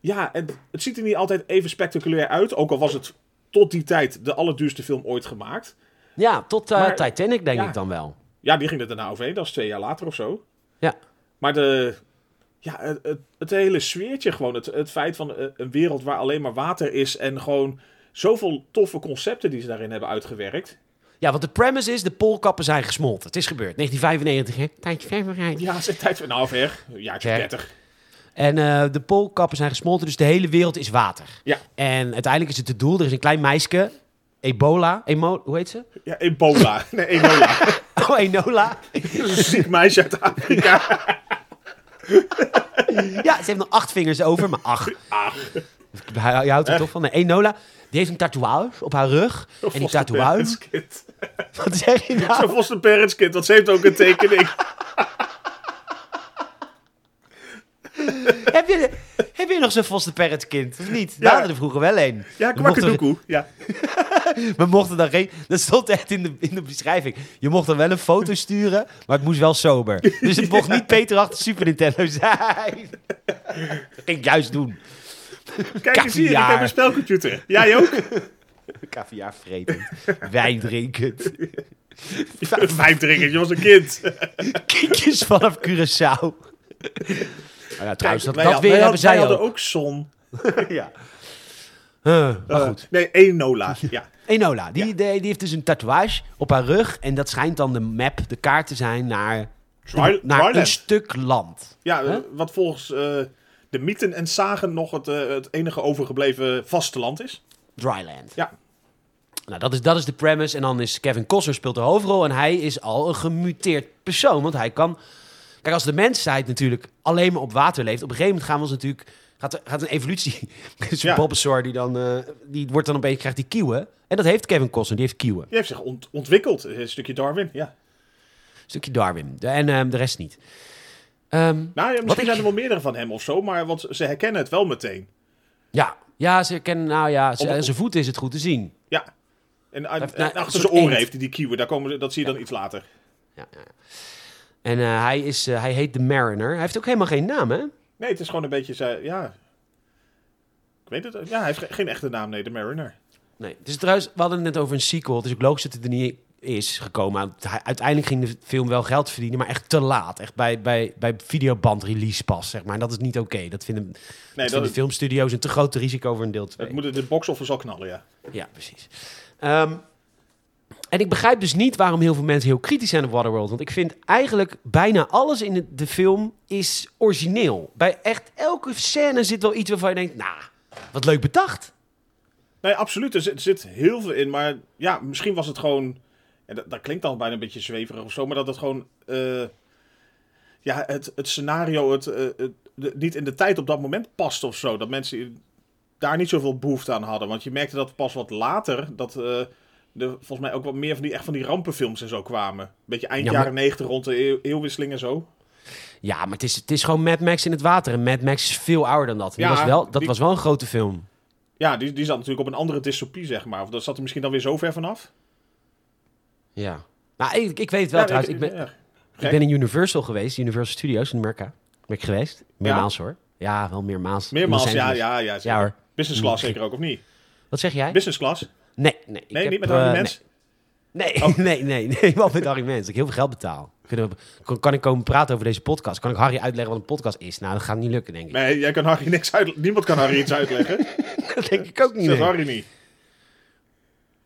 Speaker 2: ja het, het ziet er niet altijd even spectaculair uit. Ook al was het tot die tijd de allerduurste film ooit gemaakt.
Speaker 1: Ja, tot eh,
Speaker 2: Maar-
Speaker 1: Titanic denk
Speaker 2: ja.
Speaker 1: ik dan wel.
Speaker 2: Ja, die ging er daarna overheen. Dat is twee jaar later of zo.
Speaker 1: Ja.
Speaker 2: Maar de, ja, het, het, het hele sfeertje gewoon. Het, het feit van eh, een wereld waar alleen maar water is. En gewoon zoveel toffe concepten die ze daarin hebben uitgewerkt.
Speaker 1: Ja, want de premise is, de poolkappen zijn gesmolten. Het is gebeurd. 1995, hè? Tijdje ver
Speaker 2: Ja, ze tijd van nou ver. Een jaartje
Speaker 1: Ja.
Speaker 2: 30.
Speaker 1: En eh, de poolkappen zijn gesmolten, dus de hele wereld is water.
Speaker 2: Ja.
Speaker 1: En uiteindelijk is het het doel, er is een klein meisje, Ebola, emo, hoe heet ze?
Speaker 2: Ja, ebola. Nee, ebola.
Speaker 1: Oh, Enola.
Speaker 2: Dat is een ziek meisje uit Afrika.
Speaker 1: Ja, ze heeft nog acht vingers over, maar ach. Hij- Je houdt er toch van? Nee, Enola. Die heeft een tatoeage op haar rug. en die
Speaker 2: Foster
Speaker 1: tatoeage...
Speaker 2: parents kid.
Speaker 1: Wat zeg je
Speaker 2: Zo'n
Speaker 1: nou?
Speaker 2: foster parents kid, want ze heeft ook een tekening.
Speaker 1: heb, je, heb je nog zo'n foster parent kind, of niet? We
Speaker 2: Ja.
Speaker 1: hadden er vroeger wel een.
Speaker 2: Ja,
Speaker 1: We mochten-
Speaker 2: kwakkedoekoe. Ja.
Speaker 1: We mochten dan geen... Dat stond echt in de, in de beschrijving. Je mocht dan wel een foto sturen, maar het moest wel sober. Dus het mocht niet Peter achter Super Nintendo zijn. Dat ging ik juist doen.
Speaker 2: Kijk eens hier, ik heb
Speaker 1: Kaviaar.
Speaker 2: een spelcomputer. Jij ook?
Speaker 1: Kaviaar vretend, wijn drinkend.
Speaker 2: Vijf drinkers, je was een kind.
Speaker 1: Kindjes vanaf Curaçao. Maar ja, trouwens, dat,
Speaker 2: Wij
Speaker 1: dat
Speaker 2: had-
Speaker 1: weer hebben
Speaker 2: wij had- wij
Speaker 1: zij
Speaker 2: hadden
Speaker 1: ook.
Speaker 2: ook zon.
Speaker 1: ja. Huh, maar
Speaker 2: Eh,
Speaker 1: goed.
Speaker 2: Nee, één Nola. Eh, Ja.
Speaker 1: Enola, die, die, die heeft dus een tatoeage op haar rug. En dat schijnt dan de map, de kaart te zijn naar,
Speaker 2: Dry-
Speaker 1: naar een
Speaker 2: Dryland.
Speaker 1: stuk land.
Speaker 2: Ja, eh, wat volgens eh, de mythen en zagen nog het, eh, het enige overgebleven vasteland is.
Speaker 1: Dryland.
Speaker 2: Ja.
Speaker 1: Nou, dat is, dat is de premise. En dan is Kevin Costner speelt de hoofdrol. En hij is al een gemuteerd persoon. Want hij kan... Kijk, als de mensheid natuurlijk alleen maar op water leeft... op een gegeven moment gaan we ons natuurlijk... Gaat, er- gaat een evolutie... Dus
Speaker 2: Ja.
Speaker 1: Bulbasaur die dan... eh, die wordt dan opeens... krijgt die kieuwen. En dat heeft Kevin Costner. Die heeft kieuwen.
Speaker 2: Die heeft zich ont- ontwikkeld. Eh, Een stukje Darwin, ja.
Speaker 1: Stukje Darwin. De- en ehm, de rest niet. Ehm,
Speaker 2: Nou, ja,
Speaker 1: Wat
Speaker 2: misschien
Speaker 1: ik-
Speaker 2: zijn er wel meerdere van hem of zo, maar want ze herkennen het wel meteen.
Speaker 1: ja. Ja, ze kennen... Nou ja, ze-
Speaker 2: Om- om-
Speaker 1: aan zijn voeten is het goed te zien.
Speaker 2: Ja. En, uit-
Speaker 1: heeft, nou,
Speaker 2: en
Speaker 1: een
Speaker 2: achter
Speaker 1: soort
Speaker 2: zijn oren
Speaker 1: eend.
Speaker 2: heeft hij die kieuwen. Daar komen, ze- dat zie je dan iets later.
Speaker 1: Ja, ja. En eh, hij, is, eh, hij heet de Mariner. Hij heeft ook helemaal geen naam, hè?
Speaker 2: Nee, het is gewoon een beetje... zijn- ja. Ik weet het. Ja, hij heeft ge- geen echte naam, nee. De Mariner.
Speaker 1: Nee, het is trouwens, we hadden het net over een sequel. Het is ook logisch dat het er niet is gekomen. Hij- Uiteindelijk ging de film wel geld verdienen, maar echt te laat. Echt bij, bij, bij videoband release pas, zeg maar. En dat is niet oké. Dat vinden, dat
Speaker 2: Nee,
Speaker 1: vinden
Speaker 2: dat, het,
Speaker 1: filmstudio's een te groot risico voor een deel 2.
Speaker 2: het moet de box-office al knallen, ja.
Speaker 1: Ja, precies. Ehm, en ik begrijp dus niet waarom heel veel mensen heel kritisch zijn op Waterworld. Want ik vind eigenlijk bijna alles in de, de film is origineel. Bij echt elke scène zit wel iets waarvan je denkt, nou, wat leuk bedacht.
Speaker 2: Nee, absoluut. Er zit, zit heel veel in. Maar ja, misschien was het gewoon. En dat, dat klinkt dan bijna een beetje zweverig of zo. Maar dat het gewoon. eh, ja, het, het scenario. Het, eh, het- de- niet in de tijd op dat moment past of zo. Dat mensen daar niet zoveel behoefte aan hadden. Want je merkte dat pas wat later. Dat. eh er volgens mij ook wat meer van die, echt van die rampenfilms en zo kwamen. Beetje eind
Speaker 1: Ja, maar-
Speaker 2: jaren negentig rond de eeuw- eeuwwisseling en zo.
Speaker 1: Ja, maar het is, het is gewoon Mad Max in het water. En Mad Max is veel ouder dan dat. En
Speaker 2: Ja,
Speaker 1: die was wel, dat
Speaker 2: die-
Speaker 1: was wel een grote film.
Speaker 2: Ja, die, die zat natuurlijk op een andere dystopie, zeg maar. Of dat zat er misschien dan weer zo ver vanaf.
Speaker 1: Ja. Maar ik, ik weet het wel
Speaker 2: ja,
Speaker 1: trouwens. Ik ben,
Speaker 2: ja.
Speaker 1: ik ben in Universal geweest. Universal Studios in Amerika. Ben ik geweest. Meermaals hoor. Ja, wel meermaals. In
Speaker 2: Meermaals,
Speaker 1: Los
Speaker 2: ja,
Speaker 1: Angeles.
Speaker 2: ja, ja.
Speaker 1: Ja hoor.
Speaker 2: Business class zeker ook, of niet?
Speaker 1: Wat zeg jij?
Speaker 2: Business class?
Speaker 1: Nee, nee. ik
Speaker 2: Nee,
Speaker 1: heb,
Speaker 2: niet met
Speaker 1: eh,
Speaker 2: Harry
Speaker 1: nee.
Speaker 2: Mens? Oh.
Speaker 1: Nee, nee, nee, nee. Wat met Harry Mens? Dat ik heel veel geld betaal. Kunnen we- kan, kan ik komen praten over deze podcast? Kan ik Harry uitleggen wat een podcast is? Nou, dat gaat niet lukken, denk ik.
Speaker 2: Nee, jij kan Harry niks uitleggen. Niemand kan Harry iets uitleggen.
Speaker 1: Dat denk ik ook niet.
Speaker 2: Zelfs
Speaker 1: nee.
Speaker 2: Harry niet.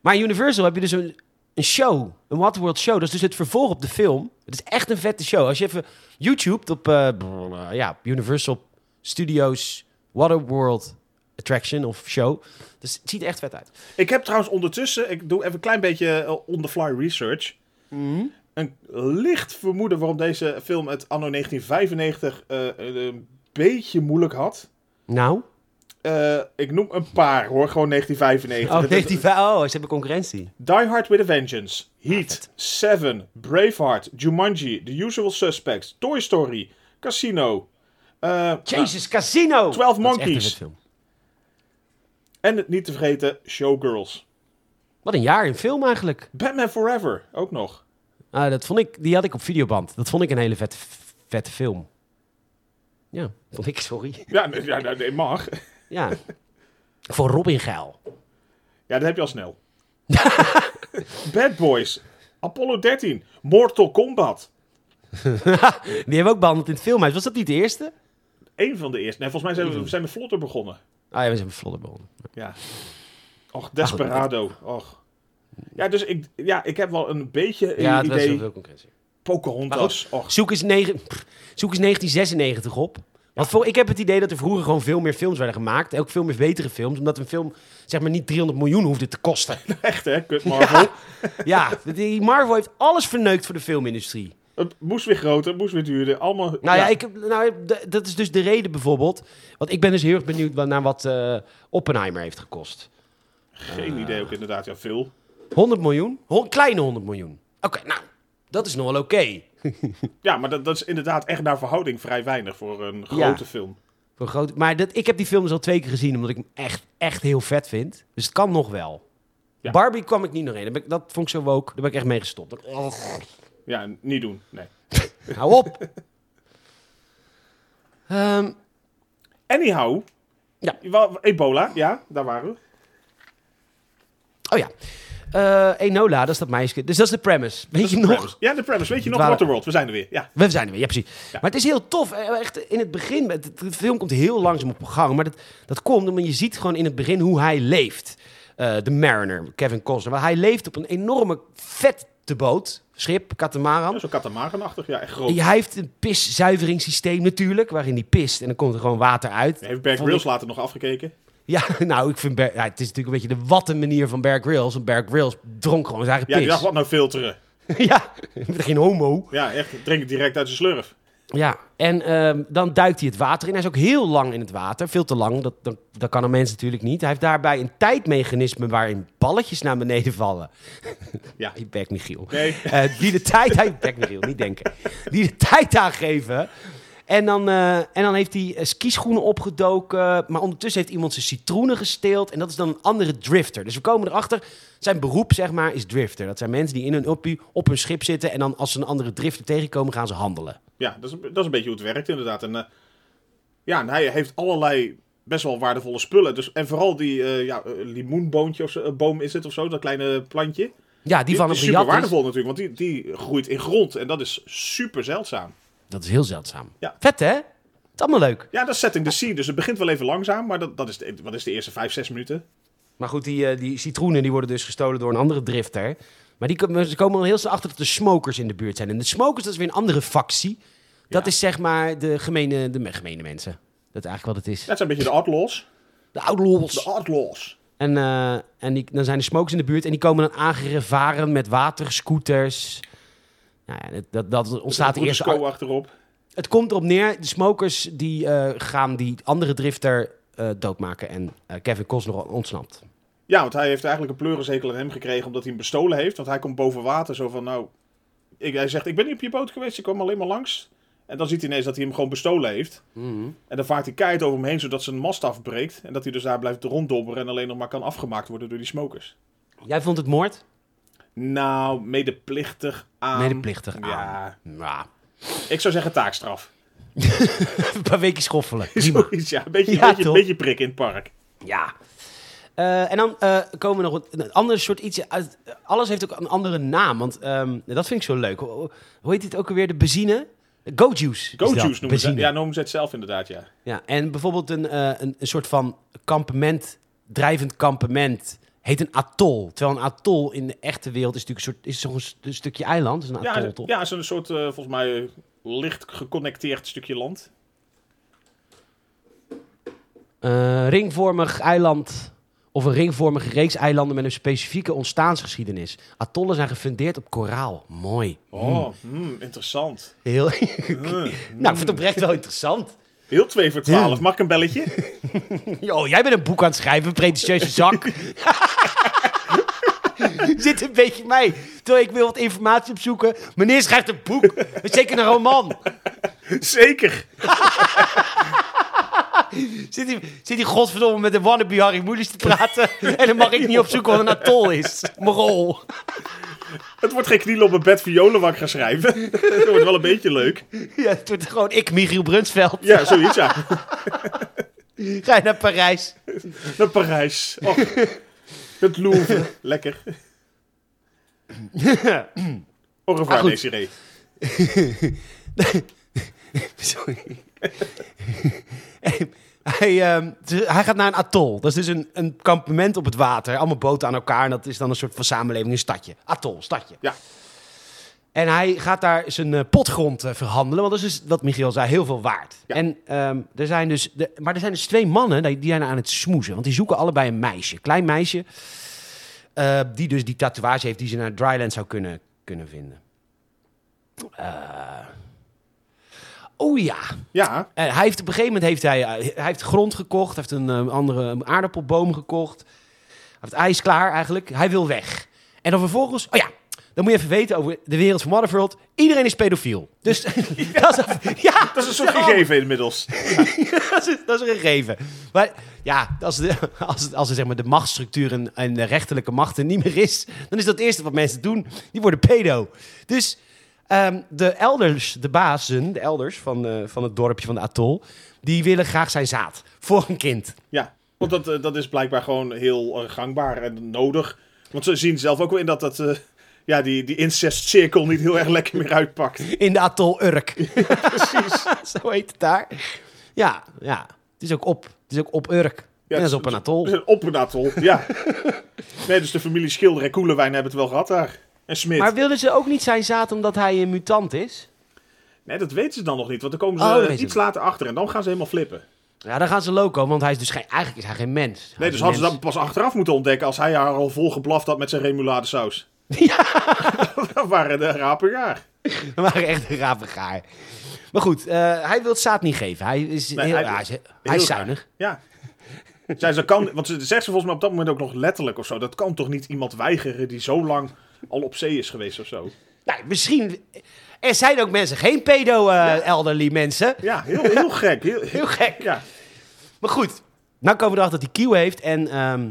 Speaker 1: Maar in Universal heb je dus een, een show, een Waterworld show. Dat is dus het vervolg op de film. Het is echt een vette show. Als je even YouTube op eh, brrr, ja, Universal Studios Waterworld Attraction of show. Dus het ziet er echt vet uit.
Speaker 2: Ik heb trouwens ondertussen, ik doe even een klein beetje eh, on the fly research.
Speaker 1: Mm.
Speaker 2: Een licht vermoeden waarom deze film het anno 1995 eh, een beetje moeilijk had.
Speaker 1: Nou,
Speaker 2: Eh, ik noem een paar hoor, gewoon
Speaker 1: oh,
Speaker 2: 1995.
Speaker 1: 19, oh ze hebben concurrentie.
Speaker 2: Die Hard with a Vengeance, Heat, Seven, Braveheart, Jumanji, The Usual Suspects, Toy Story, Casino. eh,
Speaker 1: Jesus, Casino!
Speaker 2: 12
Speaker 1: Dat is echt een
Speaker 2: Monkeys.
Speaker 1: vet film.
Speaker 2: en het niet te vergeten, Showgirls.
Speaker 1: Wat een jaar in film eigenlijk.
Speaker 2: Batman Forever, ook nog.
Speaker 1: Ah, dat vond ik, die had ik op videoband. Dat vond ik een hele vette, vette film. Ja, vond ik, sorry.
Speaker 2: Ja, nee, ja, nee, nee, mag.
Speaker 1: Ja. Voor Robin Geil.
Speaker 2: Ja, dat heb je al snel. Bad Boys, Apollo 13, Mortal Kombat.
Speaker 1: Die hebben we ook behandeld in het filmhuis. Was dat niet de eerste?
Speaker 2: Eén van de eerste. Nee, volgens mij zijn we, zijn we vlotter begonnen.
Speaker 1: Ah ja, we zijn vlodder begonnen.
Speaker 2: Ja.
Speaker 1: Nou,
Speaker 2: Och, Desperado. Och. Ja, dus ik, ja, ik heb wel een beetje een
Speaker 1: Ja, het was heel
Speaker 2: idee.
Speaker 1: veel concurrentie.
Speaker 2: Pocahontas. Och.
Speaker 1: Zoek eens, negen, pff, zoek eens 1996 op. Want voor, ik heb het idee dat er vroeger gewoon veel meer films werden gemaakt. Ook veel meer betere films. Omdat een film zeg maar niet 300 miljoen hoefde te kosten.
Speaker 2: Echt, hè? Kut Marvel.
Speaker 1: ja, die Marvel heeft alles verneukt voor de filmindustrie.
Speaker 2: Het moest weer groter, het moest weer duurder. Allemaal...
Speaker 1: Nou ja, ik, nou, d- dat is dus de reden bijvoorbeeld. Want ik ben dus heel erg benieuwd wa- naar wat eh, Oppenheimer heeft gekost.
Speaker 2: Geen idee ook inderdaad. Ja, veel.
Speaker 1: 100 miljoen? Ho- kleine 100 miljoen. Oké, nou, dat is nog wel oké.
Speaker 2: Ja, maar dat, dat is inderdaad echt naar verhouding vrij weinig voor een grote film.
Speaker 1: Voor een groot- Maar dat, ik heb die film dus al twee keer gezien, omdat ik hem echt, echt heel vet vind. Dus het kan nog wel.
Speaker 2: Ja.
Speaker 1: Barbie kwam ik niet nog in. Dat, heb ik- dat vond ik zo woke. Daar ben ik echt mee gestopt. Oh,
Speaker 2: Ja, niet doen. Nee.
Speaker 1: hou op. Ehm,
Speaker 2: Anyhow.
Speaker 1: Ja.
Speaker 2: Wa- Ebola, ja, daar waren we.
Speaker 1: oh ja. Eh, Enola, dat is dat meisje. Dus dat is de premise. Weet
Speaker 2: Dat is
Speaker 1: je
Speaker 2: de
Speaker 1: nog?
Speaker 2: premise. Ja, de premise. Weet je nog?
Speaker 1: Waar-
Speaker 2: Waterworld, we zijn er weer. Ja.
Speaker 1: We zijn er weer, ja precies.
Speaker 2: Ja.
Speaker 1: Maar het is heel tof. eh, Echt in het begin, het- het- de film komt heel langzaam op gang. Maar dat, dat komt omdat je ziet gewoon in het begin hoe hij leeft. Eh, de Mariner, Kevin Costner. Maar hij leeft op een enorme vette boot, schip,
Speaker 2: Ja,
Speaker 1: katamaran.
Speaker 2: Zo'n katamaranachtig. Ja, echt groot.
Speaker 1: En
Speaker 2: Ja.
Speaker 1: hij heeft een piszuiveringssysteem natuurlijk, waarin hij pist. En dan komt er gewoon water uit.
Speaker 2: Heeft Berg
Speaker 1: Vond ik-
Speaker 2: Grylls later nog afgekeken.
Speaker 1: Ja, nou, ik vind Bear- ja, het is natuurlijk een beetje de watte manier van Bear Grylls. Want Bear Grylls dronk gewoon zijn
Speaker 2: Ja,
Speaker 1: eigen
Speaker 2: die dacht,
Speaker 1: pis.
Speaker 2: wat nou filteren?
Speaker 1: Ja, geen homo.
Speaker 2: Ja, echt. Drink het direct uit zijn slurf.
Speaker 1: Ja, en ehm, dan duikt hij het water in. Hij is ook heel lang in het water, veel te lang. Dat, dat, dat kan een mens natuurlijk niet. Hij heeft daarbij een tijdmechanisme waarin balletjes naar beneden vallen.
Speaker 2: Ja.
Speaker 1: Je bek, Michiel.
Speaker 2: Nee.
Speaker 1: Eh, die de tijd... Hij bek, Michiel, niet denken. Die de tijd aangeven. En dan, eh, en dan heeft hij eh, skischoenen opgedoken. Maar ondertussen heeft iemand zijn citroenen gesteeld. En dat is dan een andere drifter. Dus we komen erachter. Zijn beroep, zeg maar, is drifter. Dat zijn mensen die in hun uppie op hun schip zitten. En dan als ze een andere drifter tegenkomen, gaan ze handelen.
Speaker 2: Ja, dat is, een- dat is een beetje hoe het werkt inderdaad. En, eh, ja, en hij heeft allerlei best wel waardevolle spullen. Dus, en vooral die eh, ja, eh, limoenboontje of zo, eh, boom is het of zo, dat kleine plantje. Die,
Speaker 1: Ja, die, van
Speaker 2: die
Speaker 1: een
Speaker 2: is super
Speaker 1: riad is.
Speaker 2: waardevol natuurlijk, want die, die groeit in grond. En dat is super zeldzaam.
Speaker 1: Dat is heel zeldzaam.
Speaker 2: Ja.
Speaker 1: Vet hè? Het is allemaal leuk.
Speaker 2: Ja, dat is setting the sea. Dus het begint wel even langzaam, maar dat, dat is, de, wat is de eerste 5, 6 minuten?
Speaker 1: Maar goed, die, eh, die citroenen die worden dus gestolen door een andere drifter. Maar die, ko- ze komen al heel snel achter dat de smokers in de buurt zijn. En de smokers, dat is weer een andere factie. Dat
Speaker 2: Ja.
Speaker 1: is zeg maar de gemene, de me- gemene mensen. Dat is eigenlijk wat het is.
Speaker 2: Dat zijn een beetje de outlaws.
Speaker 1: De
Speaker 2: De
Speaker 1: outlaws.
Speaker 2: outlaws.
Speaker 1: En, eh, en die, dan zijn de smokers in de buurt en die komen dan aangevaren met waterscooters. Nou ja, dat, dat, dat ontstaat de
Speaker 2: Met een
Speaker 1: eerste
Speaker 2: Cusco achterop.
Speaker 1: Het komt erop neer, de smokers die eh, gaan die andere drifter eh, doodmaken. En eh, Kevin Costner ontsnapt.
Speaker 2: Ja, want hij heeft eigenlijk een pleurishekel aan hem gekregen omdat hij hem bestolen heeft. Want hij komt boven water zo van, nou... Ik, hij zegt, ik ben niet op je boot geweest, ik kwam alleen maar langs. En dan ziet hij ineens dat hij hem gewoon bestolen heeft.
Speaker 1: Mhm.
Speaker 2: En dan vaart hij keihard over hem heen, zodat zijn mast afbreekt. En dat hij dus daar blijft ronddobberen en alleen nog maar kan afgemaakt worden door die smokers.
Speaker 1: Jij vond het moord?
Speaker 2: Nou, medeplichtig aan...
Speaker 1: Medeplichtig aan.
Speaker 2: Ja,
Speaker 1: Ja.
Speaker 2: ik zou zeggen taakstraf.
Speaker 1: Een paar weken schoffelen. Prima.
Speaker 2: Zoiets, ja. Een beetje,
Speaker 1: Ja,
Speaker 2: een beetje,
Speaker 1: toch?
Speaker 2: beetje prik in het park.
Speaker 1: Ja. Eh, en dan eh, komen we nog een, een ander soort iets uit. Alles heeft ook een andere naam. Want ehm, dat vind ik zo leuk. Hoe, hoe heet dit ook alweer? De benzine? Go Juice.
Speaker 2: Go juice noemen ze
Speaker 1: benzine.
Speaker 2: het. Ja, noemen ze het zelf inderdaad, ja.
Speaker 1: Ja, en bijvoorbeeld een, eh, een, een soort van kampement, drijvend kampement, heet een atol. Terwijl een atol in de echte wereld is natuurlijk een soort, is toch een, st- een stukje eiland, is een atol
Speaker 2: Ja,
Speaker 1: toch?
Speaker 2: ja, zo'n soort, eh, volgens mij, eh, licht geconnecteerd stukje land.
Speaker 1: Eh, ringvormig eiland of een ringvormige reeks eilanden met een specifieke ontstaansgeschiedenis. Atollen zijn gefundeerd op koraal. Mooi.
Speaker 2: Oh, hmm, interessant. Hmm.
Speaker 1: Heel... nou, ik vind het oprecht wel interessant.
Speaker 2: Heel 2 voor 12. Mag ik een belletje?
Speaker 1: Yo, Oh, jij bent een boek aan het schrijven, pretentieuze zak. Zit een beetje mij. Terwijl ik wil wat informatie opzoeken. Meneer schrijft een boek. Zeker een roman.
Speaker 2: Zeker.
Speaker 1: Zit hij, zit hij godverdomme met een wannabe Harry Moelis te praten. En dan mag ik niet opzoeken wat een atol is. Morol.
Speaker 2: Het wordt geen knielen op een bed violen wat ik ga schrijven. Het wordt wel een beetje leuk.
Speaker 1: Ja, het wordt gewoon ik, Michiel Brunsveld.
Speaker 2: Ja, zoiets ja.
Speaker 1: Ga je naar Parijs.
Speaker 2: Naar Parijs. Och, het Louvre. Lekker. Au revoir,
Speaker 1: Ah, goed.
Speaker 2: Desiree.
Speaker 1: Sorry. hij, ehm, t- hij gaat naar een atol. Dat is dus een, een kampement op het water. Allemaal boten aan elkaar. En dat is dan een soort van samenleving, een stadje. Atol, stadje.
Speaker 2: Ja.
Speaker 1: En hij gaat daar zijn eh, potgrond eh, verhandelen. Want dat is dus, wat Michiel zei, heel veel waard.
Speaker 2: Ja.
Speaker 1: En ehm, er zijn dus... De, maar er zijn dus twee mannen die, die zijn aan het smoezen. Want die zoeken allebei een meisje. Klein meisje. eh, die dus die tatoeage heeft die ze naar Dryland zou kunnen, kunnen vinden. Eh, oh ja,
Speaker 2: Ja,
Speaker 1: en hij heeft op een gegeven moment heeft hij, eh, hij heeft grond gekocht, heeft een eh, andere een aardappelboom gekocht. Hij heeft ijs klaar eigenlijk. Hij wil weg. En dan vervolgens, oh ja, dan moet je even weten over de wereld van Motherworld. Iedereen is pedofiel. Dus dat, is, ja,
Speaker 2: dat is een soort gegeven inmiddels.
Speaker 1: dat, is, dat is een gegeven. Maar ja, als, de, als, het- als er, zeg maar, de machtsstructuur en, en de rechterlijke macht er niet meer is, dan is dat het eerste wat mensen doen. Die worden pedo. Dus ehm, de elders, de bazen, de elders van, eh, van het dorpje van de atol, die willen graag zijn zaad voor een kind.
Speaker 2: Ja, want dat, eh, dat is blijkbaar gewoon heel eh, gangbaar en nodig. Want ze zien zelf ook wel in dat, dat eh, ja, die, die incestcirkel niet heel erg lekker meer uitpakt.
Speaker 1: In de atol Urk.
Speaker 2: Precies.
Speaker 1: Zo heet het daar. Ja, ja. Het is ook op. Het is ook op Urk.
Speaker 2: Ja,
Speaker 1: Ja, dat is
Speaker 2: het-
Speaker 1: op een atol.
Speaker 2: Op een atol, ja. Nee, dus de familie Schilder en Koelewijn hebben het wel gehad daar. En Smit.
Speaker 1: Maar wilden ze ook niet zijn zaad omdat hij een mutant is?
Speaker 2: Nee, dat weten ze dan nog niet, want dan komen ze
Speaker 1: Oh, dat
Speaker 2: eh,
Speaker 1: weten ze
Speaker 2: iets later achter en dan gaan ze helemaal flippen.
Speaker 1: Ja, dan gaan ze loco, want hij is dus geen, eigenlijk is hij geen mens. Hij is
Speaker 2: Nee, dus
Speaker 1: een
Speaker 2: hadden ze
Speaker 1: mens.
Speaker 2: dat pas achteraf moeten ontdekken als hij haar al vol geblaft had met zijn remuladesaus. Ja. dat waren de rapen jaar.
Speaker 1: We waren echt een rapengaar. Maar goed, eh, hij wil het zaad niet geven. Hij is,
Speaker 2: Nee,
Speaker 1: heel, ah,
Speaker 2: hij-
Speaker 1: hij, is, hij is
Speaker 2: raar.
Speaker 1: zuinig.
Speaker 2: Ja. Zij, ze kan, want ze zegt ze volgens mij op dat moment ook nog letterlijk of zo. Dat kan toch niet iemand weigeren die zo lang al op zee is geweest of zo.
Speaker 1: Nou, misschien... Er zijn ook mensen, geen pedo-elderly mensen.
Speaker 2: Ja, heel, heel gek. Heel,
Speaker 1: Heel gek.
Speaker 2: Ja.
Speaker 1: Maar goed, nou komen we erachter dat hij kieuw heeft. En ehm,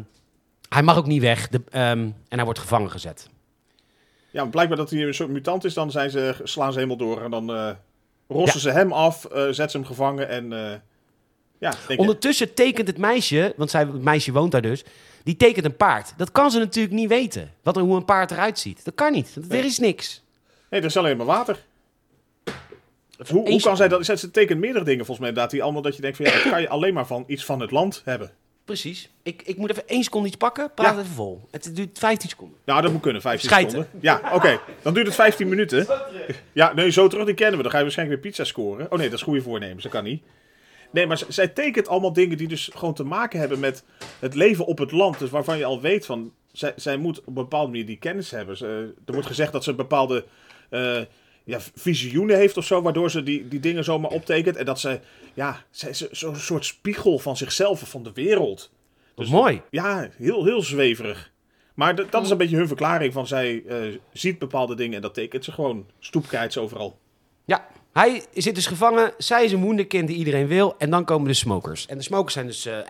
Speaker 1: hij mag ook niet weg. De, ehm, en hij wordt gevangen gezet.
Speaker 2: ja, maar blijkbaar dat hij een soort mutant is, dan zijn ze, slaan ze helemaal door. En dan eh, rossen ze hem af, eh zetten ze hem gevangen en... eh, ja, denk ik.
Speaker 1: Ondertussen tekent het meisje, want zij, het meisje woont daar dus... Die tekent een paard. Dat kan ze natuurlijk niet weten. Wat, hoe een paard eruit ziet. Dat kan niet. want Er is niks.
Speaker 2: Nee, er is alleen maar water. Hoe, hoe
Speaker 1: Eens-
Speaker 2: kan zij dat? Ze tekent meerdere dingen volgens mij inderdaad. Die allemaal dat je denkt van ja, dat kan je alleen maar van iets van het land hebben.
Speaker 1: Precies. Ik, ik moet even één seconde iets pakken. Praat
Speaker 2: Ja.
Speaker 1: even vol. Het duurt 15 seconden.
Speaker 2: Nou, dat moet kunnen, 15
Speaker 1: Schijten.
Speaker 2: seconden. Ja, oké. Dan duurt het 15 minuten. Ja, nee, zo terug, die kennen we. Dan ga je waarschijnlijk weer pizza scoren. Oh nee, dat is goede voornemens, dat kan niet. Nee, maar z- zij tekent allemaal dingen die dus gewoon te maken hebben met het leven op het land. Dus waarvan je al weet van, zij, zij moet op een bepaalde manier die kennis hebben. Ze, eh, er wordt gezegd dat ze bepaalde eh, ja, visioenen heeft of zo, waardoor ze die, die dingen zomaar optekent. En dat ze, ja, zij is zo'n soort spiegel van zichzelf of van de wereld.
Speaker 1: Dat is mooi.
Speaker 2: Ja, heel, heel zweverig. Maar d- dat is een beetje hun verklaring van zij eh, ziet bepaalde dingen en dat tekent ze gewoon. Stoepkijts overal.
Speaker 1: Ja, hij zit dus gevangen. Zij is een wonderkind die iedereen wil. En dan komen de smokers. En de smokers zijn dus... eh, eh,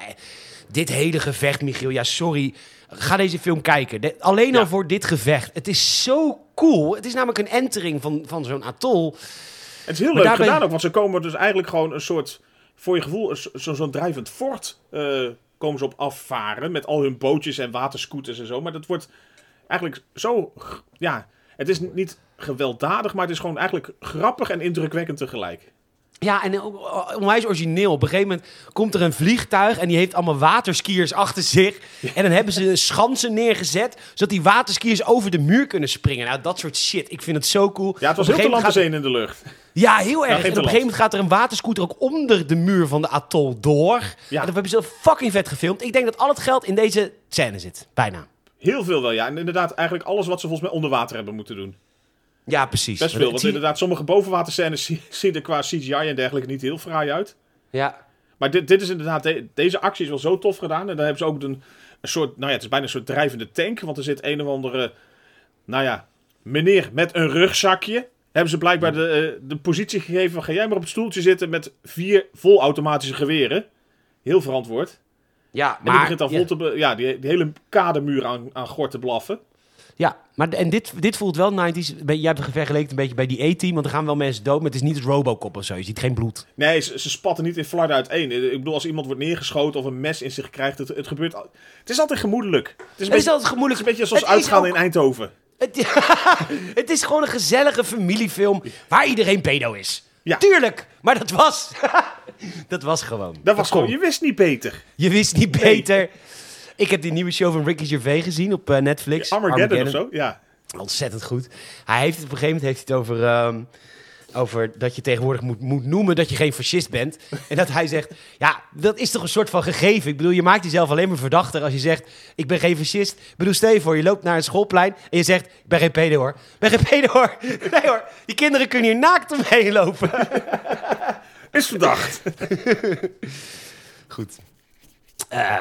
Speaker 1: dit hele gevecht, Michiel. Ja, sorry. Ga deze film kijken. De- alleen al
Speaker 2: Ja.
Speaker 1: voor dit gevecht. Het is zo cool. Het is namelijk een entering van, van zo'n atol.
Speaker 2: Het is heel
Speaker 1: Maar
Speaker 2: leuk
Speaker 1: daarbij-
Speaker 2: gedaan ook, want ze komen dus eigenlijk gewoon een soort, voor je gevoel, een so- zo- zo'n drijvend fort eh, komen ze op afvaren. Met al hun bootjes en waterscooters en zo. Maar dat wordt eigenlijk zo, g- ja, het is n- niet gewelddadig, maar het is gewoon eigenlijk grappig en indrukwekkend tegelijk.
Speaker 1: Ja, en ook eh, onwijs origineel. Op een gegeven moment komt er een vliegtuig en die heeft allemaal waterskiers achter zich. En dan hebben ze schansen neergezet, zodat die waterskiers over de muur kunnen springen. Nou, dat soort shit. Ik vind het zo cool.
Speaker 2: Ja, het was
Speaker 1: Op een
Speaker 2: heel te
Speaker 1: gegeven moment
Speaker 2: land
Speaker 1: gaat-
Speaker 2: als één in de lucht.
Speaker 1: Ja, heel erg. en
Speaker 2: geen
Speaker 1: op een
Speaker 2: talent.
Speaker 1: gegeven moment gaat er een waterscooter ook onder de muur van de atol door.
Speaker 2: Ja.
Speaker 1: Ja. En dat hebben ze fucking vet gefilmd. Ik denk dat al het geld in deze scène zit. Bijna.
Speaker 2: Heel veel wel, ja. En inderdaad, eigenlijk alles wat ze volgens mij onder water hebben moeten doen.
Speaker 1: Ja, precies.
Speaker 2: Best veel,
Speaker 1: Het
Speaker 2: want
Speaker 1: zie-
Speaker 2: inderdaad, sommige bovenwaterscènes zie- zien er qua CGI en dergelijke niet heel fraai uit.
Speaker 1: Ja.
Speaker 2: Maar dit, dit is inderdaad, de- deze actie is wel zo tof gedaan. En daar hebben ze ook een, een soort, nou ja, het is bijna een soort drijvende tank. Want er zit een of andere, nou ja, meneer met een rugzakje. Hebben ze blijkbaar de, eh, de positie gegeven van ga jij maar op het stoeltje zitten met vier volautomatische geweren. Heel verantwoord.
Speaker 1: Ja,
Speaker 2: En die
Speaker 1: maar,
Speaker 2: begint dan vol
Speaker 1: ja,
Speaker 2: te, be- ja, die, die hele kadermuur aan, aan gort te blaffen.
Speaker 1: ja, maar en dit, dit voelt wel 90s. Bij- Jij hebt het vergeleken een beetje bij die A-team, want er gaan wel mensen dood, maar het is niet het Robocop of zo. Je ziet geen bloed.
Speaker 2: Nee, ze, ze spatten niet in flarden uiteen. Ik bedoel, als iemand wordt neergeschoten of een mes in zich krijgt, het, het gebeurt... al- Het is altijd gemoedelijk. Het is een,
Speaker 1: Het is
Speaker 2: beetje,
Speaker 1: altijd
Speaker 2: het is
Speaker 1: gemoeilijk.
Speaker 2: een beetje zoals
Speaker 1: Het is
Speaker 2: uitgaan
Speaker 1: ook-
Speaker 2: in Eindhoven.
Speaker 1: Het, het is gewoon een gezellige familiefilm waar iedereen pedo is.
Speaker 2: Ja.
Speaker 1: Tuurlijk, maar dat was... dat was gewoon.
Speaker 2: Dat was gewoon,
Speaker 1: kon.
Speaker 2: je wist niet beter.
Speaker 1: Je wist niet beter. Ik heb die nieuwe show van Ricky Gervais gezien op eh, Netflix.
Speaker 2: Armageddon, of zo, ja.
Speaker 1: Ontzettend goed. Hij heeft het op een gegeven moment heeft hij het over, ehm, over dat je tegenwoordig moet, moet noemen dat je geen fascist bent. En dat hij zegt, ja, dat is toch een soort van gegeven. Ik bedoel, je maakt jezelf alleen maar verdachter als je zegt, ik ben geen fascist. Ik bedoel, stel je voor, je loopt naar een schoolplein en je zegt, ik ben geen pedo hoor. Ik ben geen pedo hoor. Nee hoor, die kinderen kunnen hier naakt omheen lopen.
Speaker 2: Is verdacht.
Speaker 1: Goed. Eh,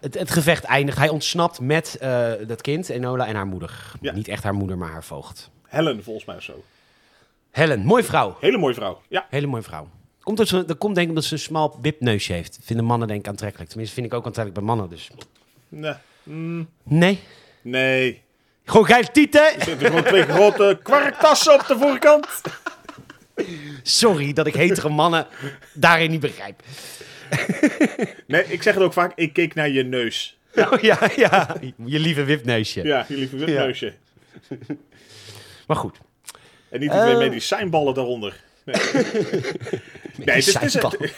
Speaker 1: het, het gevecht eindigt. Hij ontsnapt met eh, dat kind, Enola, en haar moeder.
Speaker 2: Ja.
Speaker 1: Niet echt haar moeder, maar haar voogd.
Speaker 2: Helen, volgens mij of zo.
Speaker 1: Helen, mooie vrouw.
Speaker 2: Hele mooie vrouw. Ja,
Speaker 1: Hele mooie vrouw. Komt dat, ze, dat komt denk ik omdat ze een smal wipneusje heeft. Vinden mannen denk ik aantrekkelijk. Tenminste, vind ik ook aantrekkelijk bij mannen. Dus.
Speaker 2: nee. Mm,
Speaker 1: Nee.
Speaker 2: nee.
Speaker 1: Gewoon geil tieten.
Speaker 2: Er zitten gewoon twee grote kwarktassen op de voorkant.
Speaker 1: Sorry dat ik hetere mannen daarin niet begrijp.
Speaker 2: Nee, ik zeg het ook vaak, ik keek naar je neus.
Speaker 1: Ja, ja. Je lieve wipneusje.
Speaker 2: Ja, je lieve
Speaker 1: Ja.
Speaker 2: neusje.
Speaker 1: Maar goed.
Speaker 2: En niet die twee
Speaker 1: Eh.
Speaker 2: medicijnballen daaronder. Nee, nee het is... het is-
Speaker 1: Medicijnballen.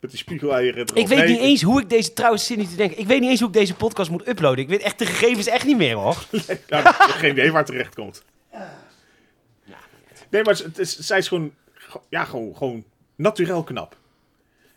Speaker 2: Met die spiegeleieren erop.
Speaker 1: Ik weet
Speaker 2: Nee,
Speaker 1: niet eens hoe ik deze... Trouwens, zit niet te denken. Ik weet niet eens hoe ik deze podcast moet uploaden. Ik weet echt de gegevens echt niet meer, hoor.
Speaker 2: Nou, ik heb geen idee waar het terecht komt. Nee, maar het is, zij is gewoon, ja, gewoon, gewoon natuurlijk knap.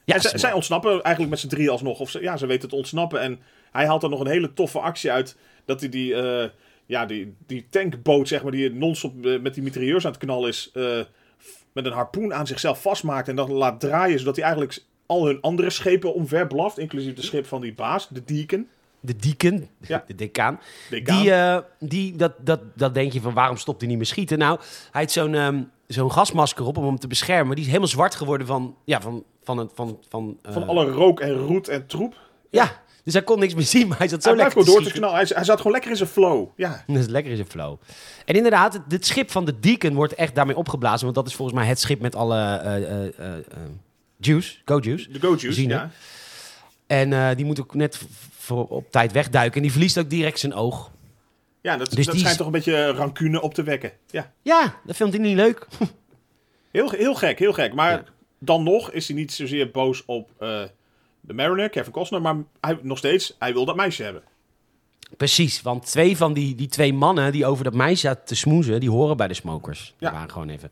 Speaker 1: Ja,
Speaker 2: En zij, zij ontsnappen eigenlijk met z'n drieën alsnog. Of ze, ja, ze weten het ontsnappen. En hij haalt er nog een hele toffe actie uit. Dat hij die, eh, ja, die, die tankboot, zeg maar, die non-stop eh, met die mitrailleurs aan het knallen is. eh, f- met een harpoen aan zichzelf vastmaakt. En dat laat draaien. Zodat hij eigenlijk al hun andere schepen omver blaft. Inclusief de schip van die baas, de Deacon.
Speaker 1: de deacon,
Speaker 2: Ja.
Speaker 1: de decaan.
Speaker 2: Decaan.
Speaker 1: Die, eh, die, dat, dat, dat denk je van waarom stopt hij niet meer schieten? Nou, hij heeft zo'n ehm, zo'n gasmasker op om hem te beschermen. Die is helemaal zwart geworden van, ja, van, van, het- van, van, eh,
Speaker 2: van alle rook en roet en troep.
Speaker 1: Ja, dus hij kon niks meer zien, maar hij zat zo
Speaker 2: hij blijft
Speaker 1: lekker
Speaker 2: gewoon door te
Speaker 1: schieten.
Speaker 2: knallen. Hij, hij zat gewoon lekker in zijn flow. Ja.
Speaker 1: Dat is lekker in zijn flow. En inderdaad, het, het schip van de Deacon wordt echt daarmee opgeblazen. Want dat is volgens mij het schip met alle eh eh, eh, eh, juice, go juice.
Speaker 2: De go-juice,
Speaker 1: Zien, hè?
Speaker 2: ja.
Speaker 1: En eh, die moet ook net v- voor, op tijd wegduiken. En die verliest ook direct zijn oog.
Speaker 2: Ja, dat,
Speaker 1: Dus
Speaker 2: dat
Speaker 1: die
Speaker 2: schijnt
Speaker 1: is-
Speaker 2: toch een beetje rancune op te wekken. Ja.
Speaker 1: Ja, dat vindt hij niet leuk.
Speaker 2: Heel, heel gek, heel gek. Maar
Speaker 1: Ja.
Speaker 2: dan nog is hij niet zozeer boos op eh, de Mariner, Kevin Costner. Maar hij, nog steeds, hij wil dat meisje hebben.
Speaker 1: Precies, want twee van die, die twee mannen die over dat meisje zaten te smoezen, die horen bij de smokers.
Speaker 2: Ja.
Speaker 1: Die waren gewoon even.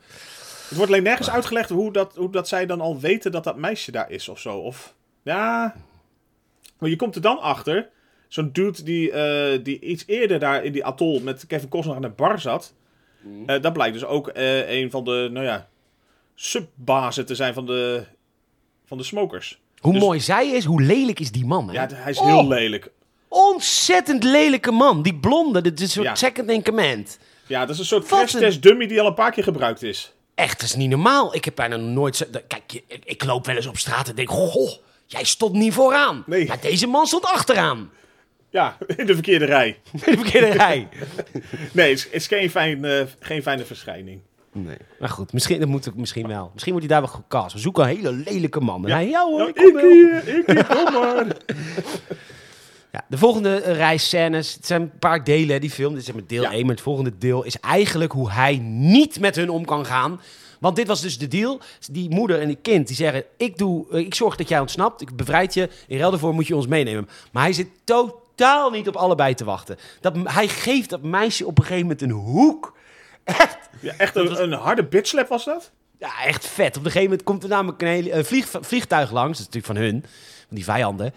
Speaker 2: Het wordt alleen nergens uitgelegd hoe dat, hoe dat zij dan al weten dat dat meisje daar is of zo. Of, ja... Maar je komt er dan achter. Zo'n dude die, eh, die iets eerder daar in die atol met Kevin Costner aan de bar zat. eh, dat blijkt dus ook eh, een van de, nou ja, subbazen te zijn van de, van de smokers.
Speaker 1: Hoe
Speaker 2: Dus-
Speaker 1: mooi zij is, hoe lelijk is die man. Hè?
Speaker 2: Ja, hij is
Speaker 1: Oh,
Speaker 2: heel lelijk.
Speaker 1: Ontzettend lelijke man. Die blonde, dit is een soort
Speaker 2: Ja.
Speaker 1: second in command.
Speaker 2: Ja, dat is een soort
Speaker 1: Wat
Speaker 2: crash
Speaker 1: een-
Speaker 2: test dummy die al een paar keer gebruikt is.
Speaker 1: Echt, dat is niet normaal. Ik heb bijna nog nooit. zo- dat- Kijk, je- ik- ik loop wel eens op straat en denk: goh, jij stond niet vooraan.
Speaker 2: Nee.
Speaker 1: Maar deze man stond achteraan.
Speaker 2: Ja, in de verkeerde rij.
Speaker 1: In de verkeerde rij.
Speaker 2: Nee, het is, het is geen, fijn, eh, geen fijne verschijning.
Speaker 1: Nee. Maar goed, misschien, dat moet ik misschien wel. Misschien wordt hij daar wel gecast. We zoeken een hele lelijke man. En hij, ja hoor,
Speaker 2: Nou,
Speaker 1: ik kom wel.
Speaker 2: hier, ik hier, kom maar.
Speaker 1: Ja, de volgende eh, reisscènes, het zijn een paar delen hè, die film, dit is zeg maar deel
Speaker 2: Ja.
Speaker 1: 1, maar het volgende deel is eigenlijk hoe hij niet met hun om kan gaan. Want dit was dus de deal. Die moeder en die kind die zeggen, ik, doe, eh, ik zorg dat jij ontsnapt, ik bevrijd je, in ruil daarvoor moet je ons meenemen. Maar hij zit totaal niet op allebei te wachten. Dat, hij geeft dat meisje op een gegeven moment een hoek. Echt,
Speaker 2: Ja, echt een, een harde bitchslap was dat?
Speaker 1: ja, echt vet. Op een gegeven moment komt er namelijk een hele- een vlieg, vliegtuig langs, dat is natuurlijk van hun, van die vijanden.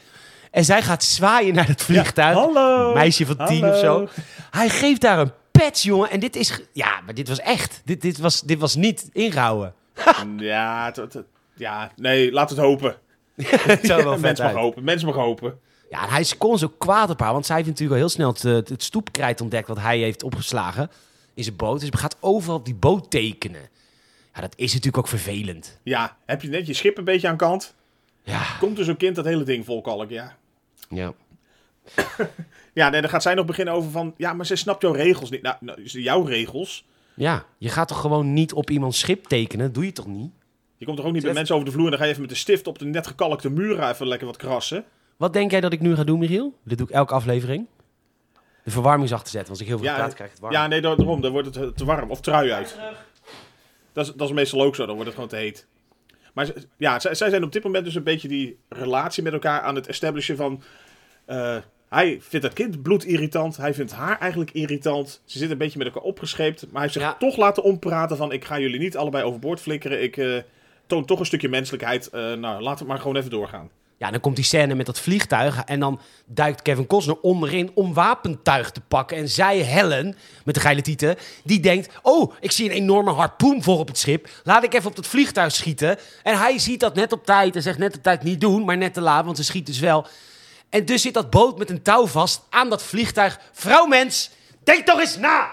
Speaker 1: En zij gaat zwaaien naar het vliegtuig.
Speaker 2: Hallo.
Speaker 1: meisje van tien
Speaker 2: Hallo.
Speaker 1: of zo. Hij geeft daar een pet, jongen. En dit is... ge- Ja, maar dit was echt. Dit, dit, was, dit was niet ingehouden.
Speaker 2: Ja, het- het- het- ja, nee, laat het hopen.
Speaker 1: Het zou wel
Speaker 2: Ja,
Speaker 1: vet
Speaker 2: mens mag
Speaker 1: uit.
Speaker 2: hopen, mens mag hopen.
Speaker 1: Ja, en hij is- kon zo kwaad op haar. Want zij heeft natuurlijk al heel snel het, eh, het, het stoepkrijt ontdekt... wat hij heeft opgeslagen in zijn boot. Dus hij gaat overal op die boot tekenen. Ja, dat is natuurlijk ook vervelend.
Speaker 2: Ja, heb je net je schip een beetje aan kant?
Speaker 1: Ja.
Speaker 2: Komt er zo'n kind dat hele ding volkalk, ja.
Speaker 1: ja.
Speaker 2: Ja, nee, dan gaat zij nog beginnen over van... Ja, maar ze snapt jouw regels niet. Nou, nou, jouw regels?
Speaker 1: Ja, je gaat toch gewoon niet op iemands schip tekenen? Dat doe je toch niet?
Speaker 2: Je komt toch ook niet bij
Speaker 1: Zet-
Speaker 2: mensen over de vloer... en dan ga je even met de stift op de net gekalkte muren even lekker wat krassen?
Speaker 1: Wat denk jij dat ik nu ga doen, Michiel? Dit doe ik elke aflevering. de verwarming zacht te zetten. Want als ik heel veel
Speaker 2: Ja,
Speaker 1: praat, krijg ik het warm.
Speaker 2: Ja, nee, daar- daarom. Dan wordt het eh, te warm. Of trui uit. Dat is, dat is meestal ook zo. Dan wordt het gewoon te heet. Maar ze- ja, zij, zij zijn op dit moment dus een beetje die relatie met elkaar aan het establishen van... eh, hij vindt dat kind bloed irritant. Hij vindt haar eigenlijk irritant. Ze zitten een beetje met elkaar opgescheept. Maar hij heeft zich
Speaker 1: Ja.
Speaker 2: toch laten ompraten van... Ik ga jullie niet allebei overboord flikkeren. Ik eh, toon toch een stukje menselijkheid. Eh, nou, laat het maar gewoon even doorgaan.
Speaker 1: Ja, dan komt die scène met dat vliegtuig. En dan duikt Kevin Costner onderin om wapentuig te pakken. En zij, Helen, met de geile tieten, die denkt... Oh, ik zie een enorme harpoen voor op het schip. Laat ik even op dat vliegtuig schieten. En hij ziet dat net op tijd en zegt net op tijd niet doen, maar net te laat. Want ze schiet dus wel. En dus zit dat boot met een touw vast aan dat vliegtuig. Vrouwmens, denk toch eens na!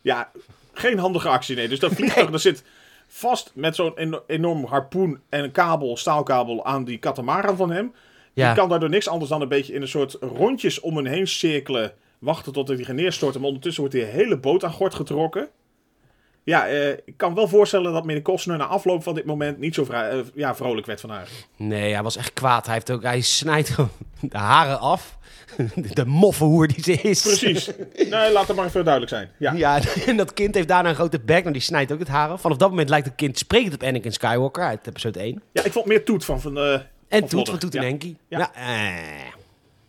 Speaker 2: Ja, geen handige actie, nee. Dus dat vliegtuig dat zit vast met zo'n en- enorm harpoen en een kabel, staalkabel aan die katamaran van hem. Die kan daardoor niks anders dan een beetje in een soort rondjes om hem heen cirkelen. Wachten tot hij geneerstort. Maar ondertussen wordt die hele boot aan gort getrokken. Ja, eh, ik kan wel voorstellen dat meneer Kostner na afloop van dit moment niet zo vri- eh, ja, vrolijk werd van haar.
Speaker 1: Nee, hij was echt kwaad. Hij, heeft ook, hij snijdt gewoon de haren af. De moffenhoer die ze is.
Speaker 2: Precies. nee, laat het maar even duidelijk zijn. Ja.
Speaker 1: Ja, en dat kind heeft daarna een grote bek. Nou, die snijdt ook het haar af. Vanaf dat moment lijkt het kind sprekend op Anakin Skywalker uit episode 1.
Speaker 2: ja, ik vond meer Toet van... van eh,
Speaker 1: En
Speaker 2: Of
Speaker 1: Toet
Speaker 2: Lodder,
Speaker 1: van Toet en
Speaker 2: ja.
Speaker 1: Henkie. Ja.
Speaker 2: Ja.
Speaker 1: eh.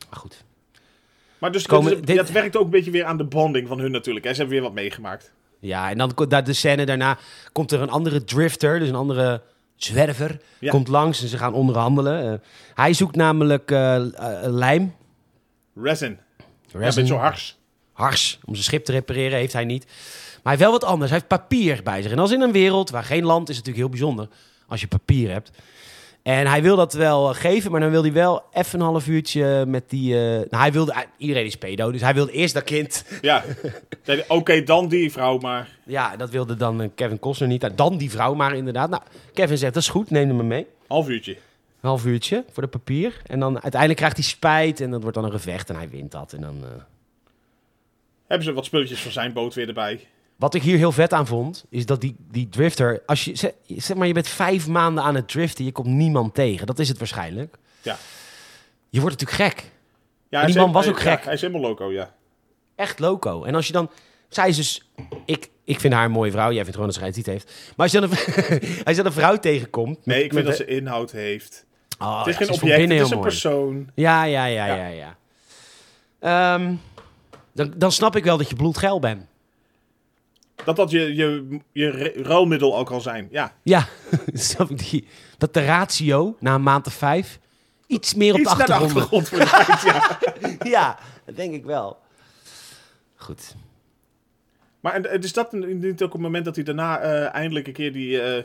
Speaker 1: Maar goed.
Speaker 2: maar dus
Speaker 1: Komen-
Speaker 2: dit is-
Speaker 1: dit-
Speaker 2: dat werkt ook een beetje weer aan de bonding van hun natuurlijk. Hè. Ze hebben weer wat meegemaakt.
Speaker 1: Ja, en dan komt daar de scène daarna komt er een andere drifter, dus een andere zwerver,
Speaker 2: Ja.
Speaker 1: komt langs en ze gaan onderhandelen. Eh, hij zoekt namelijk eh, eh, lijm.
Speaker 2: Resin. Ja,
Speaker 1: Resin.
Speaker 2: met zo'n hars.
Speaker 1: hars om zijn schip te repareren, heeft hij niet. Maar hij heeft wel wat anders. Hij heeft papier bij zich. En als in een wereld waar geen land is, het natuurlijk heel bijzonder als je papier hebt. En hij wil dat wel eh, geven, maar dan wil hij wel even een half uurtje met die... eh, nou, hij wilde, hij- iedereen is pedo, dus hij wilde eerst dat kind.
Speaker 2: Ja. Zei hij, Oké, dan die vrouw maar.
Speaker 1: Ja, dat wilde dan eh, Kevin Costner niet. Nou, Dan die vrouw maar inderdaad. Nou, Kevin zegt, dat is goed, neem hem maar mee.
Speaker 2: Half uurtje.
Speaker 1: Een half uurtje voor de papier. En dan uiteindelijk krijgt hij spijt en dat wordt dan een gevecht en hij wint dat. En dan... eh,
Speaker 2: Hebben ze wat spulletjes van zijn boot weer erbij.
Speaker 1: Wat ik hier heel vet aan vond, is dat die, die drifter... Als je, ze- zeg maar, je bent vijf maanden aan het driften, je komt niemand tegen. Dat is het waarschijnlijk.
Speaker 2: Ja.
Speaker 1: Je wordt natuurlijk gek.
Speaker 2: Ja,
Speaker 1: die
Speaker 2: hij is
Speaker 1: man
Speaker 2: he-
Speaker 1: was
Speaker 2: hij-
Speaker 1: ook
Speaker 2: ja,
Speaker 1: gek.
Speaker 2: hij is helemaal loco, ja.
Speaker 1: Echt loco. En als je dan... Zij is dus... Ik, ik vind haar een mooie vrouw. Jij vindt gewoon dat ze geen tiet heeft. Maar als je dan een, als je dan een vrouw tegenkomt...
Speaker 2: Nee, ik vind dat ze inhoud heeft.
Speaker 1: Oh,
Speaker 2: het
Speaker 1: ja,
Speaker 2: is
Speaker 1: ze
Speaker 2: geen
Speaker 1: van
Speaker 2: object,
Speaker 1: binnen heel
Speaker 2: het is een
Speaker 1: mooi.
Speaker 2: persoon.
Speaker 1: Ja, ja, ja, ja,
Speaker 2: Ja.
Speaker 1: ja. Ehm, dan, dan snap ik wel dat je bloedgeil bent.
Speaker 2: Dat dat je, je, je re- ruilmiddel ook al zijn. Ja,
Speaker 1: Ja, snap ik die. Dat de ratio na een maand of vijf iets meer op
Speaker 2: iets
Speaker 1: de
Speaker 2: naar de
Speaker 1: achtergrond
Speaker 2: achtergrond verdwijnt, ja.
Speaker 1: ja, dat denk ik wel. Goed.
Speaker 2: Maar en, en is dat een- niet ook een moment dat hij daarna eh, eindelijk een keer die eh,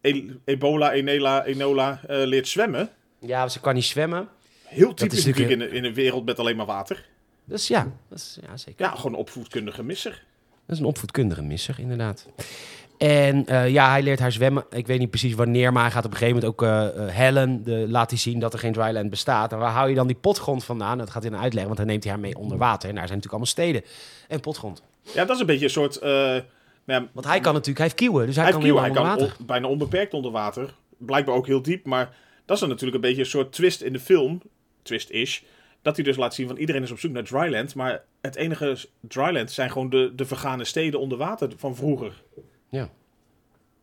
Speaker 2: e- ebola, enela, enola eh, leert zwemmen?
Speaker 1: Ja, ze kan niet zwemmen.
Speaker 2: Heel
Speaker 1: is
Speaker 2: typisch
Speaker 1: natuurlijk
Speaker 2: natuurlijk in, een- in een wereld met alleen maar water.
Speaker 1: Dus ja, dat is, ja zeker.
Speaker 2: Ja, gewoon opvoedkundige misser.
Speaker 1: Dat is een opvoedkundige misser, inderdaad. En eh, ja, hij leert haar zwemmen. Ik weet niet precies wanneer, maar hij gaat op een gegeven moment ook... eh, eh, Helen de, laat hij zien dat er geen dryland bestaat. En waar hou je dan die potgrond vandaan? Dat gaat hij dan uitleggen, want dan neemt hij haar mee onder water. En daar zijn natuurlijk allemaal steden en potgrond.
Speaker 2: Ja, dat is een beetje een soort... eh, nou ja,
Speaker 1: Want hij kan natuurlijk, hij heeft kieuwen, dus hij,
Speaker 2: Hij
Speaker 1: kan
Speaker 2: kan,
Speaker 1: heel
Speaker 2: hij
Speaker 1: onder
Speaker 2: kan
Speaker 1: water.
Speaker 2: on- bijna onbeperkt onder water. Blijkbaar ook heel diep. Maar dat is dan natuurlijk een beetje een soort twist in de film. Twist-ish. Dat hij dus laat zien van iedereen is op zoek naar dryland. Maar het enige s- dryland zijn gewoon de, de vergane steden onder water van vroeger.
Speaker 1: Ja.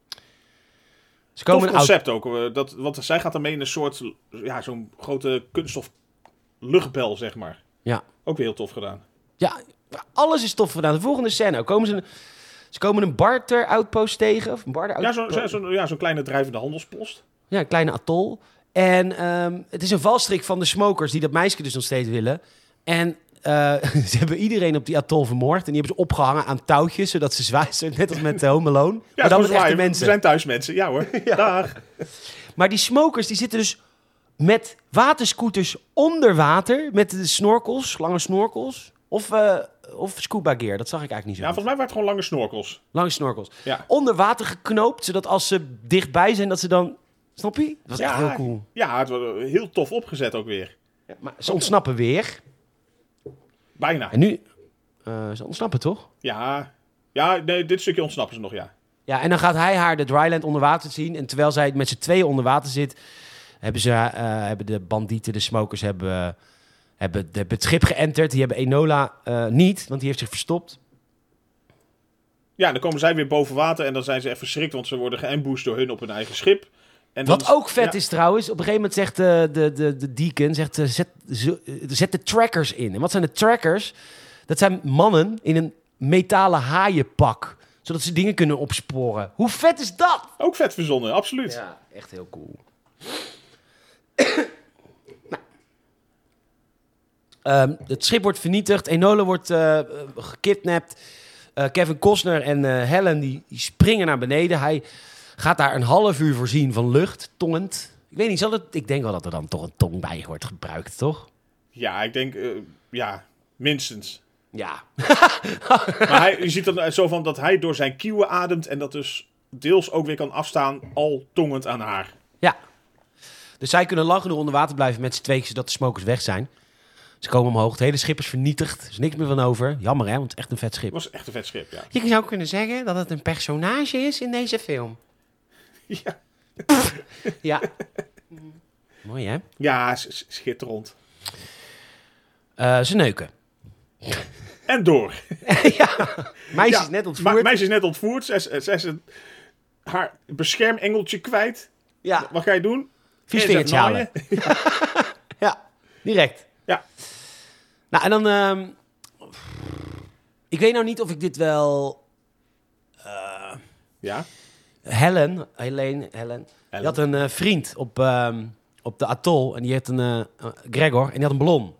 Speaker 1: Ze
Speaker 2: Tof
Speaker 1: komen een auto.
Speaker 2: concept ook. eh, Dat, want zij gaat daarmee in een soort, ja, zo'n grote kunststof luchtbel, zeg maar.
Speaker 1: Ja.
Speaker 2: Ook weer heel tof gedaan.
Speaker 1: Ja, alles is tof gedaan. De volgende scène. ook. Komen ze, een, ze komen een barter-outpost tegen. Of een barter
Speaker 2: Ja, zo'n zo, zo, ja, zo'n kleine drijvende handelspost.
Speaker 1: ja, een kleine atol. En ehm, het is een valstrik van de smokers die dat meisje dus nog steeds willen. En eh, ze hebben iedereen op die atol vermoord. En die hebben ze opgehangen aan touwtjes, zodat ze zwaaien. Net als met de Home Alone. maar dan
Speaker 2: gewoon
Speaker 1: met echte
Speaker 2: zwaaien.
Speaker 1: mensen.
Speaker 2: We zijn thuis mensen. Ja hoor. Dag.
Speaker 1: Maar die smokers die zitten dus met waterscooters onder water. Met de snorkels, lange snorkels. Of, eh, of scuba gear, dat zag ik eigenlijk niet zo.
Speaker 2: Ja,
Speaker 1: goed.
Speaker 2: volgens mij waren het gewoon lange snorkels.
Speaker 1: Lange snorkels.
Speaker 2: Ja.
Speaker 1: Onder water geknoopt, zodat als ze dichtbij zijn, dat ze dan... Snap je? Dat was echt heel cool.
Speaker 2: Ja, het was heel tof opgezet ook weer.
Speaker 1: Maar ze ontsnappen weer.
Speaker 2: Bijna.
Speaker 1: En nu... eh, ze ontsnappen toch?
Speaker 2: Ja, ja nee, dit stukje ontsnappen ze nog, ja.
Speaker 1: Ja, en dan gaat hij haar de dryland onder water zien. En terwijl zij met z'n tweeën onder water zit... hebben, ze, eh, hebben de bandieten, de smokers, hebben, Hebben, hebben het schip geënterd. Die hebben Enola eh, niet, want die heeft zich verstopt.
Speaker 2: Ja, dan komen zij weer boven water en dan zijn ze even verschrikt, want ze worden geambushed door hun op hun eigen schip. En
Speaker 1: Wat
Speaker 2: dan-
Speaker 1: ook vet
Speaker 2: ja,
Speaker 1: is trouwens, op een gegeven moment zegt eh, de, de, de deacon, zegt, eh, zet, zo- eh, zet de trackers in. En wat zijn de trackers? Dat zijn mannen in een metalen haaienpak, zodat ze dingen kunnen opsporen. Hoe vet is dat?
Speaker 2: Ook vet verzonnen, absoluut.
Speaker 1: Ja, echt heel cool. nou. Ehm, het schip wordt vernietigd. Enola wordt eh, eh, gekidnapt. Eh, Kevin Costner en eh, Helen die, die springen naar beneden. Hij gaat daar een half uur voorzien van lucht, tongend. Ik weet niet, zal het, ik denk wel dat er dan toch een tong bij wordt gebruikt, toch?
Speaker 2: Ja, ik denk, eh, ja, minstens.
Speaker 1: Ja.
Speaker 2: Maar hij, je ziet dan zo van dat hij door zijn kieuwen ademt en dat dus deels ook weer kan afstaan, al tongend aan haar.
Speaker 1: ja. Dus zij kunnen lang genoeg onder water blijven met z'n tweeën, zodat de smokers weg zijn. Ze komen omhoog. Het hele schip is vernietigd. Er is niks meer van over. Jammer, hè? Want het is echt een vet schip.
Speaker 2: Het was echt een vet schip, ja.
Speaker 1: Je zou kunnen zeggen dat het een personage is in deze film.
Speaker 2: Ja,
Speaker 1: Ja. Mooi, hè?
Speaker 2: ja s- s- schitterend.
Speaker 1: Eh, ze neuken.
Speaker 2: En door.
Speaker 1: Meisje
Speaker 2: Ja,
Speaker 1: is net ontvoerd.
Speaker 2: Maar meisje is net ontvoerd. Zij, is- zij is een- haar beschermengeltje kwijt.
Speaker 1: Ja,
Speaker 2: Wat ga je doen?
Speaker 1: Ah. vies
Speaker 2: En ze
Speaker 1: vingertje
Speaker 2: zegt
Speaker 1: halen.
Speaker 2: naaien.
Speaker 1: Ja, direct.
Speaker 2: Ja.
Speaker 1: Nou, en dan... ehm, ik weet nou niet of ik dit wel... eh,
Speaker 2: Ja.
Speaker 1: Helen, Helene, Helen. Die had een eh, vriend op, ehm, op de atol. En die had een... eh, Gregor. En die had een ballon.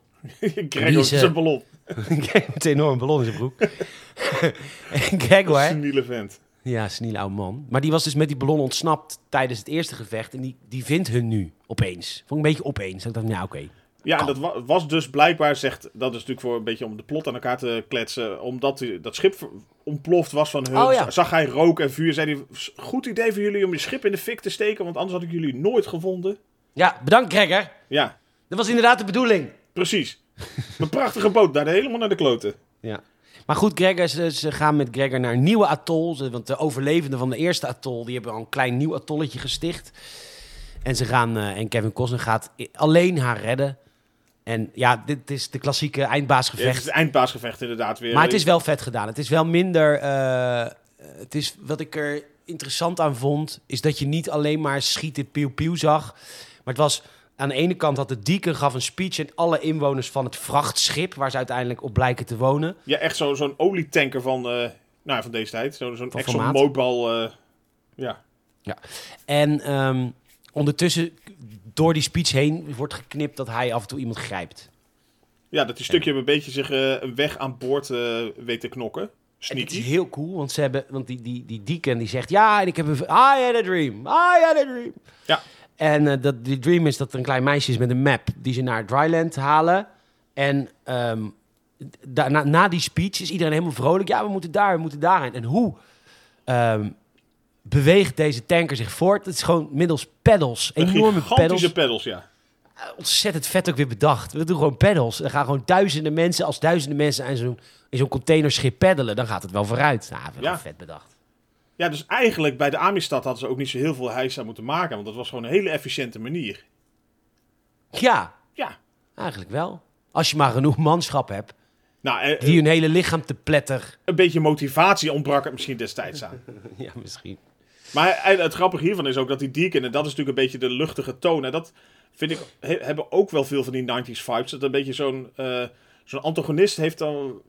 Speaker 2: Gregor
Speaker 1: is, eh,
Speaker 2: is een ballon.
Speaker 1: Met een enorme ballon in zijn broek. en Gregor...
Speaker 2: Seniele vent.
Speaker 1: Ja, seniele oude man. Maar die was dus met die ballon ontsnapt tijdens het eerste gevecht. En die, die vindt hun nu, opeens. Vond ik een beetje opeens. Dat Ik dacht, ja, oké.
Speaker 2: Ja,
Speaker 1: Kan.
Speaker 2: dat wa- was dus blijkbaar, zegt, dat is natuurlijk voor een beetje om de plot aan elkaar te kletsen. Omdat die- dat schip ver- ontploft was van hun,
Speaker 1: Oh, ja.
Speaker 2: zag hij rook en vuur. Zei hij, "S- goed idee voor jullie om je schip in de fik te steken, want anders had ik jullie nooit gevonden.
Speaker 1: Ja, bedankt Gregor.
Speaker 2: Ja,
Speaker 1: Dat was inderdaad de bedoeling.
Speaker 2: precies. Een prachtige boot, daar helemaal naar de kloten.
Speaker 1: Ja. Maar goed, Gregor, ze, ze gaan met Gregor naar een nieuwe atol. Ze- Want de overlevenden van de eerste atol, die hebben al een klein nieuw atolletje gesticht. En ze gaan, eh, en Kevin Costner gaat i- alleen haar redden. En ja, dit is de klassieke
Speaker 2: Ja, het is
Speaker 1: eindbaasgevecht.
Speaker 2: het eindbaasgevecht inderdaad weer.
Speaker 1: Maar het is wel vet gedaan. Het is wel minder. eh, het is, wat ik er interessant aan vond, is dat je niet alleen maar schieten pieuw-pieuw zag. Maar het was. Aan de ene kant had de deacon gaf een speech aan alle inwoners van het vrachtschip, waar ze uiteindelijk op blijken te wonen.
Speaker 2: Ja, echt zo- zo'n olietanker van, eh, nou, ja, van deze tijd. Zo- Zo'n
Speaker 1: Van
Speaker 2: Exxon
Speaker 1: formaat.
Speaker 2: Mobil. eh, ja.
Speaker 1: En ehm, ondertussen, door die speech heen, wordt geknipt dat hij af en toe iemand grijpt.
Speaker 2: ja, dat die stukje een beetje zich eh, een weg aan boord eh, weet te knokken.
Speaker 1: En dit
Speaker 2: Sneaky.
Speaker 1: is heel cool, want, ze hebben, want die, die, die deacon die zegt... Ja, en ik heb een... v- I had a dream. I had a dream.
Speaker 2: Ja.
Speaker 1: En eh, dat, die dream is dat er een klein meisje is met een map... die ze naar Dryland halen. En ehm, daarna, na die speech is iedereen helemaal vrolijk. Ja, we moeten daar, we moeten daarheen. En hoe ehm, beweegt deze tanker zich voort? Het is gewoon middels pedals. Enorme pedals. Eh,
Speaker 2: Gigantische pedals, ja.
Speaker 1: ontzettend vet ook weer bedacht. We doen gewoon paddles. Er gaan gewoon duizenden mensen, als duizenden mensen aan zo'n, in zo'n containerschip paddelen, dan gaat het wel vooruit. Nou, wel
Speaker 2: Ja.
Speaker 1: vet bedacht.
Speaker 2: Ja, dus eigenlijk bij de Amistad hadden ze ook niet zo heel veel hijs aan moeten maken. Want dat was gewoon een hele efficiënte manier.
Speaker 1: Ja,
Speaker 2: Ja.
Speaker 1: eigenlijk wel. Als je maar genoeg manschap hebt,
Speaker 2: Nou, eh,
Speaker 1: die hun hele lichaam te pletter.
Speaker 2: een beetje motivatie ontbrak het misschien destijds aan.
Speaker 1: Ja, misschien.
Speaker 2: Maar en het grappige hiervan is ook dat die Deacon, en dat is natuurlijk een beetje de luchtige toon. En dat vind ik, he- hebben ook wel veel van die 90s vibes. Dat een beetje zo'n eh, zo'n antagonist heeft dan.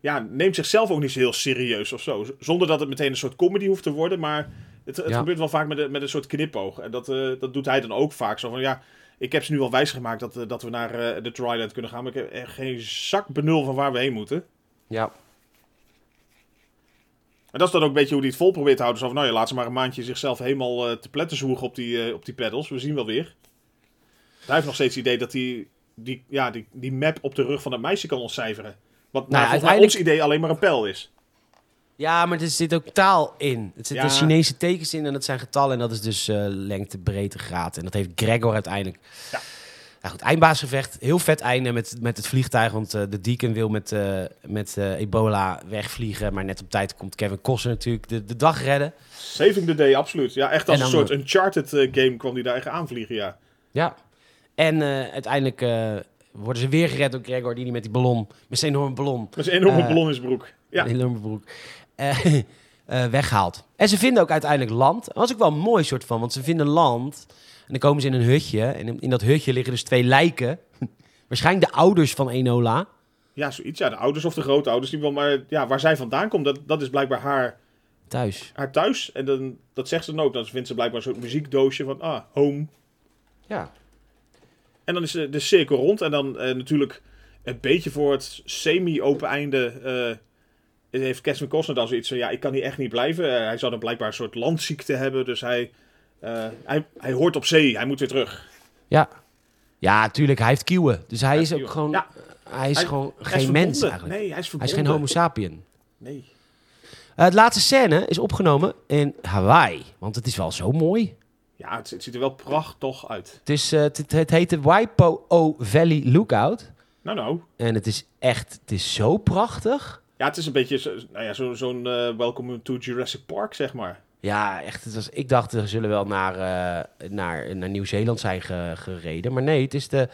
Speaker 2: Ja, neemt zichzelf ook niet zo heel serieus of zo. Z- Zonder dat het meteen een soort comedy hoeft te worden. Maar het, het
Speaker 1: Ja.
Speaker 2: gebeurt wel vaak met een, met een soort knipoog. En dat, eh, dat doet hij dan ook vaak. Zo van ja, ik heb ze nu al wijsgemaakt dat, eh, dat we naar eh, de Dryland kunnen gaan. Maar ik heb echt geen zak benul van waar we heen moeten.
Speaker 1: Ja.
Speaker 2: En dat is dan ook een beetje hoe hij het vol probeert te houden. Zo van, nou ja, laat ze maar een maandje zichzelf helemaal eh, te pletten zwoegen op die, eh, op die pedals. We zien wel weer. Hij heeft nog steeds het idee dat hij die, ja, die, die map op de rug van dat meisje kan ontcijferen. Wat nou,
Speaker 1: ja,
Speaker 2: volgens mij
Speaker 1: uiteindelijk-
Speaker 2: ons idee alleen maar een pijl is.
Speaker 1: Ja, maar er zit ook taal in. Er zitten
Speaker 2: Ja.
Speaker 1: Chinese tekens in en dat zijn getallen. En dat is dus eh, lengte, breedte, graad. En dat heeft Gregor uiteindelijk.
Speaker 2: Ja.
Speaker 1: Nou goed, eindbaasgevecht. Heel vet einde met, met het vliegtuig. Want eh, de deacon wil met, eh, met eh, ebola wegvliegen. Maar net op tijd komt Kevin Costner natuurlijk de, de dag redden.
Speaker 2: Saving the day, absoluut. Ja, echt als
Speaker 1: En
Speaker 2: een
Speaker 1: dan-
Speaker 2: soort Uncharted eh, game kwam hij daar echt aanvliegen, ja.
Speaker 1: Ja. En eh, uiteindelijk eh, worden ze weer gered door Gregor, die niet met die ballon, met zijn enorme ballon,
Speaker 2: Dat is een enorme
Speaker 1: Eh,
Speaker 2: ballon in zijn broek. Ja.
Speaker 1: een enorme broek, eh, eh, weghaalt. En ze vinden ook uiteindelijk land. Dat was ook wel een mooi soort van, want ze vinden land en dan komen ze in een hutje. En in, in dat hutje liggen dus twee lijken. Waarschijnlijk de ouders van Enola.
Speaker 2: ja, zoiets. Ja, de ouders of de grootouders. Die wel, maar ja, waar zij vandaan komt, dat, dat is blijkbaar haar,
Speaker 1: Thuis.
Speaker 2: haar thuis. En dan, dat zegt ze dan ook. Dan vindt ze blijkbaar zo'n muziekdoosje van, ah, home.
Speaker 1: Ja.
Speaker 2: En dan is de, de cirkel rond. En dan eh, natuurlijk een beetje voor het semi-open einde... eh, heeft Kevin Costner dan zoiets van... Ja, ik kan hier echt niet blijven. Eh, hij zou dan blijkbaar een soort landziekte hebben. Dus hij, eh, hij, hij hoort op zee. Hij moet weer terug.
Speaker 1: Ja. Ja, tuurlijk. Hij heeft kieuwen. Dus hij
Speaker 2: Hij
Speaker 1: is
Speaker 2: heeft
Speaker 1: ook
Speaker 2: kieuwen.
Speaker 1: gewoon...
Speaker 2: Ja.
Speaker 1: Hij is
Speaker 2: Hij-
Speaker 1: gewoon
Speaker 2: Hij is
Speaker 1: geen mens
Speaker 2: verbonden.
Speaker 1: eigenlijk.
Speaker 2: Nee, hij is
Speaker 1: hij is
Speaker 2: verbonden.
Speaker 1: geen homo sapien.
Speaker 2: Nee.
Speaker 1: Eh, de laatste scène is opgenomen in Hawaii. Want het is wel zo mooi.
Speaker 2: Ja, het, het ziet er wel prachtig uit.
Speaker 1: Het, is, eh, het, het- het heet de Waipo Valley Lookout.
Speaker 2: Nou, nou.
Speaker 1: En het is echt... Het is zo prachtig.
Speaker 2: Ja, het is een beetje zo- nou ja, zo- zo'n eh, Welcome to Jurassic Park, zeg maar.
Speaker 1: Ja, echt. Het was, ik dacht, we zullen wel naar, eh, naar, naar Nieuw-Zeeland zijn ge- gereden. Maar nee, het is de...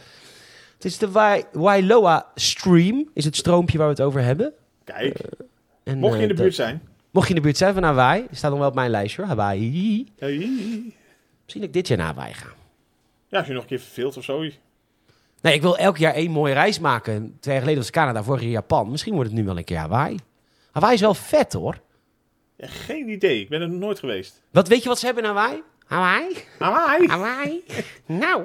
Speaker 1: Het is de Wai- Wailoa Stream. Is het stroompje waar we het over hebben.
Speaker 2: Kijk,
Speaker 1: En,
Speaker 2: mocht je in de
Speaker 1: eh, dat-
Speaker 2: buurt zijn.
Speaker 1: Mocht je in de buurt zijn van Hawaii, staat nog wel op mijn lijstje hoor. Hawaii.
Speaker 2: Hey.
Speaker 1: Misschien dat ik dit jaar naar Hawaii ga.
Speaker 2: Ja, als je nog een keer verveelt of zo.
Speaker 1: Nee, ik wil elk jaar één mooie reis maken. Twee jaar geleden was Canada, vorig jaar Japan. Misschien wordt het nu wel een keer Hawaii. Hawaii is wel vet hoor.
Speaker 2: Ja, geen idee, ik ben er nog nooit geweest.
Speaker 1: Wat weet je wat ze hebben in Hawaii? Hawaii?
Speaker 2: Hawaii!
Speaker 1: Hawaii? nou.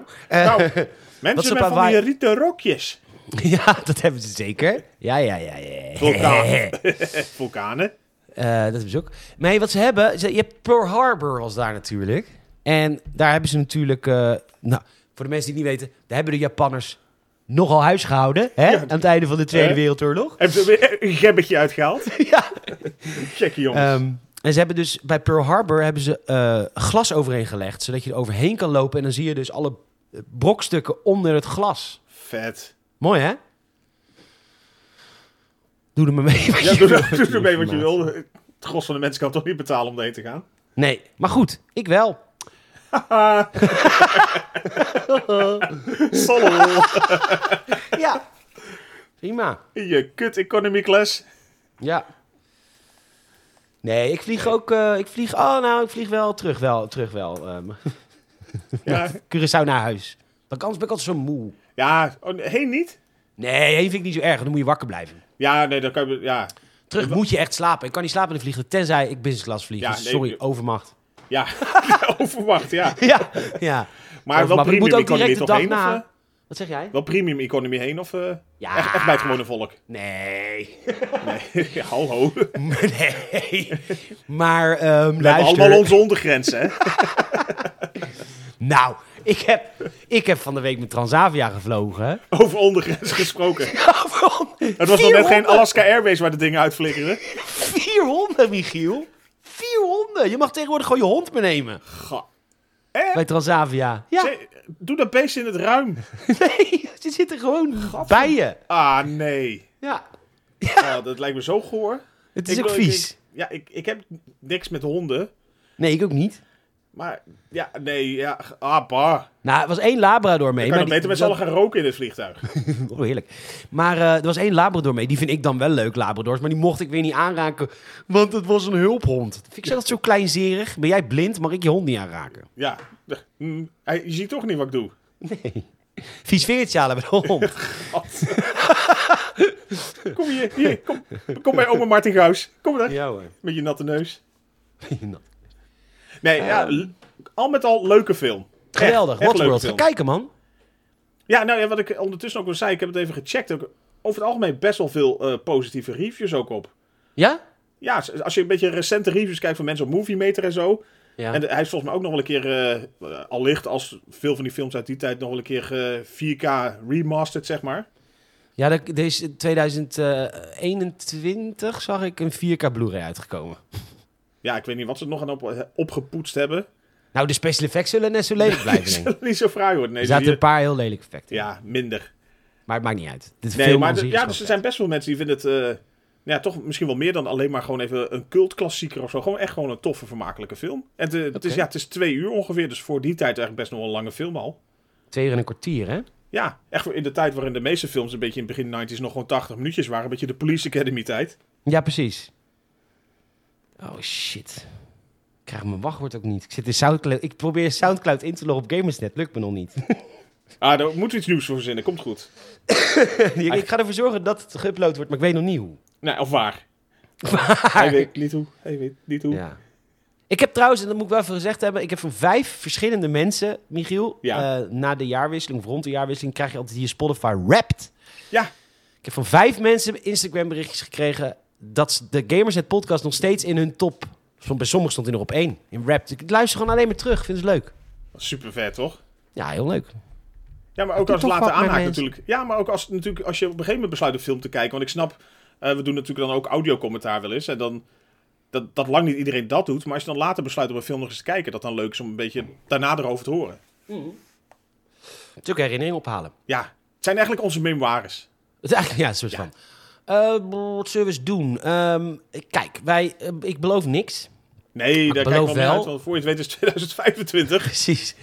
Speaker 2: Nou,
Speaker 1: Wat is
Speaker 2: mensen
Speaker 1: op
Speaker 2: met van
Speaker 1: Hawaii?
Speaker 2: die rieten rokjes.
Speaker 1: ja, dat hebben ze zeker. Ja, ja, ja. ja.
Speaker 2: Vulkaan. Vulkanen.
Speaker 1: Eh, dat hebben ze ook. Nee, wat ze hebben... ze- je hebt Pearl Harbor was daar natuurlijk. En daar hebben ze natuurlijk... eh, nou, voor de mensen die het niet weten... Daar hebben de Japanners nogal huisgehouden. Hè?
Speaker 2: Ja.
Speaker 1: Aan het einde van de Tweede
Speaker 2: Eh?
Speaker 1: Wereldoorlog.
Speaker 2: Heb je weer een gebbetje uitgehaald?
Speaker 1: ja.
Speaker 2: Check je jongens.
Speaker 1: Ehm, en ze hebben dus bij Pearl Harbor hebben ze eh, glas overheen gelegd. Zodat je er overheen kan lopen. En dan zie je dus alle eh, brokstukken onder het glas.
Speaker 2: Vet.
Speaker 1: Mooi hè? Doe er maar mee. wat
Speaker 2: Ja,
Speaker 1: je
Speaker 2: doe,
Speaker 1: wil
Speaker 2: doe,
Speaker 1: met die
Speaker 2: doe mee wat je
Speaker 1: informatie.
Speaker 2: wil. Het gros van de mensen kan toch niet betalen om daarheen te gaan?
Speaker 1: Nee, maar goed, ik wel.
Speaker 2: Solo.
Speaker 1: Ja. Prima.
Speaker 2: je kut economy class.
Speaker 1: Ja. Nee, ik vlieg ook. eh, ik vlieg. Oh, nou, ik vlieg wel terug, wel terug, wel. ehm
Speaker 2: Ja,
Speaker 1: Curaçao naar huis. Dan kan- ben ik altijd zo moe.
Speaker 2: ja. Oh, nee, heen niet?
Speaker 1: Nee, heen vind ik niet zo erg. Dan moet je wakker blijven.
Speaker 2: Ja, nee, dan kan je... Ja,
Speaker 1: Terug moet je echt slapen. Ik kan niet slapen in de vliegtuig, tenzij ik business class vlieg.
Speaker 2: Ja,
Speaker 1: Dus
Speaker 2: nee,
Speaker 1: sorry,
Speaker 2: ik-
Speaker 1: overmacht.
Speaker 2: Ja, overwacht, ja.
Speaker 1: Ja, ja.
Speaker 2: Maar wel
Speaker 1: Overmacht.
Speaker 2: premium economy toch heen? Of, eh,
Speaker 1: Wat zeg jij?
Speaker 2: wel premium economy heen of eh,
Speaker 1: Ja.
Speaker 2: echt, echt bij het gewone volk?
Speaker 1: Nee.
Speaker 2: Nee, ja, hallo. We
Speaker 1: nee. Maar ehm
Speaker 2: hebben
Speaker 1: luister.
Speaker 2: allemaal onze ondergrens, hè?
Speaker 1: Nou, ik heb, ik heb van de week met Transavia gevlogen.
Speaker 2: Over ondergrens gesproken.
Speaker 1: Oh,
Speaker 2: Het
Speaker 1: Het
Speaker 2: was nog net geen Alaska Airways waar de dingen uitflikkerden.
Speaker 1: 400, Michiel. 400. Je mag tegenwoordig gewoon je hond meenemen.
Speaker 2: Ga.
Speaker 1: Bij Transavia. Ja,
Speaker 2: Zee- Doe dat beest in het ruim.
Speaker 1: nee. Ze zitten gewoon bij je.
Speaker 2: Ah, nee.
Speaker 1: Ja.
Speaker 2: Ah, dat lijkt me zo goor.
Speaker 1: Het is
Speaker 2: Ik
Speaker 1: ook
Speaker 2: bedoel, ik-
Speaker 1: vies.
Speaker 2: ik- ja, ik, ik heb niks met honden.
Speaker 1: Nee, ik ook niet.
Speaker 2: Maar ja, nee, ja. Ah, bah.
Speaker 1: Nou, er was één Labrador mee.
Speaker 2: Ik kan
Speaker 1: maar
Speaker 2: het
Speaker 1: die-
Speaker 2: beter met z'n allen gaan roken in het vliegtuig.
Speaker 1: Oh, heerlijk. Maar eh, er was één Labrador mee. Die vind ik dan wel leuk, Labradors. Maar die mocht ik weer niet aanraken, want het was een hulphond. Vind ik zelf zo kleinzerig. Ben jij blind, mag ik je hond niet aanraken?
Speaker 2: Ja, Hm, hij- je ziet toch niet wat ik doe.
Speaker 1: Nee. Vies veertje halen bij de hond.
Speaker 2: Kom hier, hier, kom, kom bij oma Martin Gauws. Kom daar,
Speaker 1: ja hoor.
Speaker 2: met je natte neus. Nee, ja, l- al met al leuke film. Echt,
Speaker 1: Ehm. Geweldig.
Speaker 2: echt leuke
Speaker 1: Waterworld. Ga
Speaker 2: film.
Speaker 1: kijken, man.
Speaker 2: Ja, nou ja, wat ik ondertussen ook al zei, ik heb het even gecheckt. Ook, over het algemeen best wel veel eh, positieve reviews ook op.
Speaker 1: Ja?
Speaker 2: Ja, als- als je een beetje recente reviews kijkt van mensen op Movie Meter en zo.
Speaker 1: Ja.
Speaker 2: En de- hij is volgens mij ook nog wel een keer, eh, eh, allicht als veel van die films uit die tijd, nog wel een keer eh, 4K remastered, zeg maar.
Speaker 1: ja, dat- er is in 2021 zag ik een 4K Blu-ray uitgekomen.
Speaker 2: Ja, ik weet niet wat ze er nog aan op, eh, opgepoetst hebben.
Speaker 1: Nou, de special effects zullen net zo lelijk blijven. denk ik.
Speaker 2: Niet zo fraai hoor. Nee,
Speaker 1: Er zaten
Speaker 2: die- eh,
Speaker 1: een paar heel lelijke effecten.
Speaker 2: Ja, minder.
Speaker 1: Maar het maakt niet uit. Dit
Speaker 2: Nee,
Speaker 1: film
Speaker 2: maar
Speaker 1: aan
Speaker 2: de-
Speaker 1: zich is
Speaker 2: ja,
Speaker 1: wel
Speaker 2: dus er
Speaker 1: vet.
Speaker 2: zijn best veel mensen die vinden het eh, ja, toch misschien wel meer dan alleen maar gewoon even een cultklassieker of zo. Gewoon echt gewoon een toffe, vermakelijke film. En het, eh, het is,
Speaker 1: Oké.
Speaker 2: ja, het is twee uur ongeveer, dus voor die tijd eigenlijk best nog wel een lange film al.
Speaker 1: Twee uur en een kwartier, hè?
Speaker 2: Ja, echt in de tijd waarin de meeste films een beetje in het begin 90s nog gewoon 80 minuutjes waren. Een beetje de Police Academy tijd.
Speaker 1: Ja, precies. Oh shit. Ik krijg mijn wachtwoord ook niet. Ik, zit in Soundcloud. ik probeer Soundcloud in te loggen op Gamersnet. Lukt me nog niet.
Speaker 2: Ah, daar moeten we iets nieuws voor verzinnen. Komt goed.
Speaker 1: ik ga ervoor zorgen dat het geüpload wordt, maar ik weet nog niet hoe.
Speaker 2: Nee, of waar. Hij weet niet hoe. Hij weet niet hoe.
Speaker 1: Ja. Ik heb trouwens, en dat moet ik wel even gezegd hebben, ik heb van vijf verschillende mensen, Michiel,
Speaker 2: Ja.
Speaker 1: eh, na de jaarwisseling of rond de jaarwisseling krijg je altijd hier Spotify Wrapped.
Speaker 2: Ja.
Speaker 1: Ik heb van vijf mensen Instagram berichtjes gekregen dat ze de Gamers het podcast nog steeds in hun top, som- bij sommigen stond hij nog op één, in Wrapped. Ik luister gewoon alleen maar terug, vind het leuk.
Speaker 2: Super vet, toch?
Speaker 1: Ja, heel leuk.
Speaker 2: Ja, maar ook als
Speaker 1: toch
Speaker 2: later
Speaker 1: wat met
Speaker 2: aanhaakt
Speaker 1: mensen.
Speaker 2: natuurlijk. Ja, maar ook als, natuurlijk, als je op een gegeven moment besluit een film te kijken. Want ik snap, eh, we doen natuurlijk dan ook audiocommentaar wel eens. En dan, dat, dat lang niet iedereen dat doet. Maar als je dan later besluit om een film nog eens te kijken. Dat dan leuk is om een beetje daarna erover te horen.
Speaker 1: Natuurlijk herinnering ophalen.
Speaker 2: Ja, het zijn eigenlijk onze memoires.
Speaker 1: Het is eigenlijk, ja, een soort
Speaker 2: Ja.
Speaker 1: van. Eh, wat zullen we eens doen? Ehm, kijk, wij, eh, ik beloof niks.
Speaker 2: Nee,
Speaker 1: Maar
Speaker 2: daar
Speaker 1: ik
Speaker 2: kijk ik wel
Speaker 1: beloof
Speaker 2: mee
Speaker 1: wel-
Speaker 2: uit. Want voor je het weet is het 2025.
Speaker 1: Precies.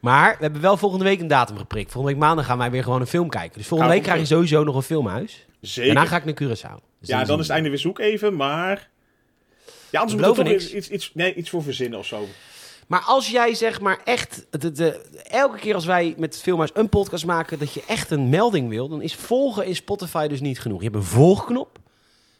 Speaker 1: Maar we hebben wel volgende week een datum geprikt. Volgende week maandag gaan wij weer gewoon een film kijken. Dus volgende week
Speaker 2: Gaan we
Speaker 1: krijg je sowieso nog een filmhuis.
Speaker 2: Zeker.
Speaker 1: Daarna ga ik naar Curaçao. Dus
Speaker 2: ja, dan is het einde weer zoek even. Maar... Ja, anders
Speaker 1: beloven
Speaker 2: moeten we toch
Speaker 1: niks.
Speaker 2: iets, iets, nee, iets voor verzinnen of zo.
Speaker 1: Maar als jij zeg maar echt... de- de- elke keer als wij met het filmhuis een podcast maken... dat je echt een melding wil... dan is volgen in Spotify dus niet genoeg. Je hebt een volgknop.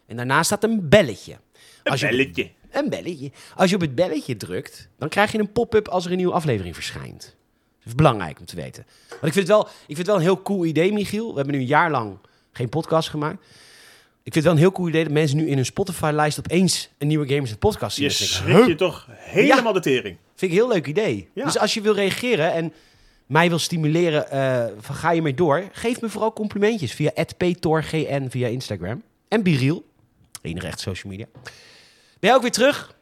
Speaker 1: En daarna staat een belletje. Als je op-
Speaker 2: Belletje.
Speaker 1: Een belletje. Als je op het belletje drukt, dan krijg je een pop-up als er een nieuwe aflevering verschijnt. Dat is belangrijk om te weten. Want ik vind het wel, ik vind het wel een heel cool idee, Michiel. We hebben nu een jaar lang geen podcast gemaakt. Ik vind het wel een heel cool idee dat mensen nu in hun Spotify-lijst opeens een nieuwe Gamers en Podcast zien.
Speaker 2: Je
Speaker 1: Dat vind ik-
Speaker 2: schrik je toch helemaal de tering.
Speaker 1: Vind ik een heel leuk idee.
Speaker 2: Ja.
Speaker 1: Dus als je wil reageren en mij wil stimuleren, eh, van ga je mee door? Geef me vooral complimentjes via @ptorgn via Instagram. En Biriel, enige echt social media. Ben jij ook weer terug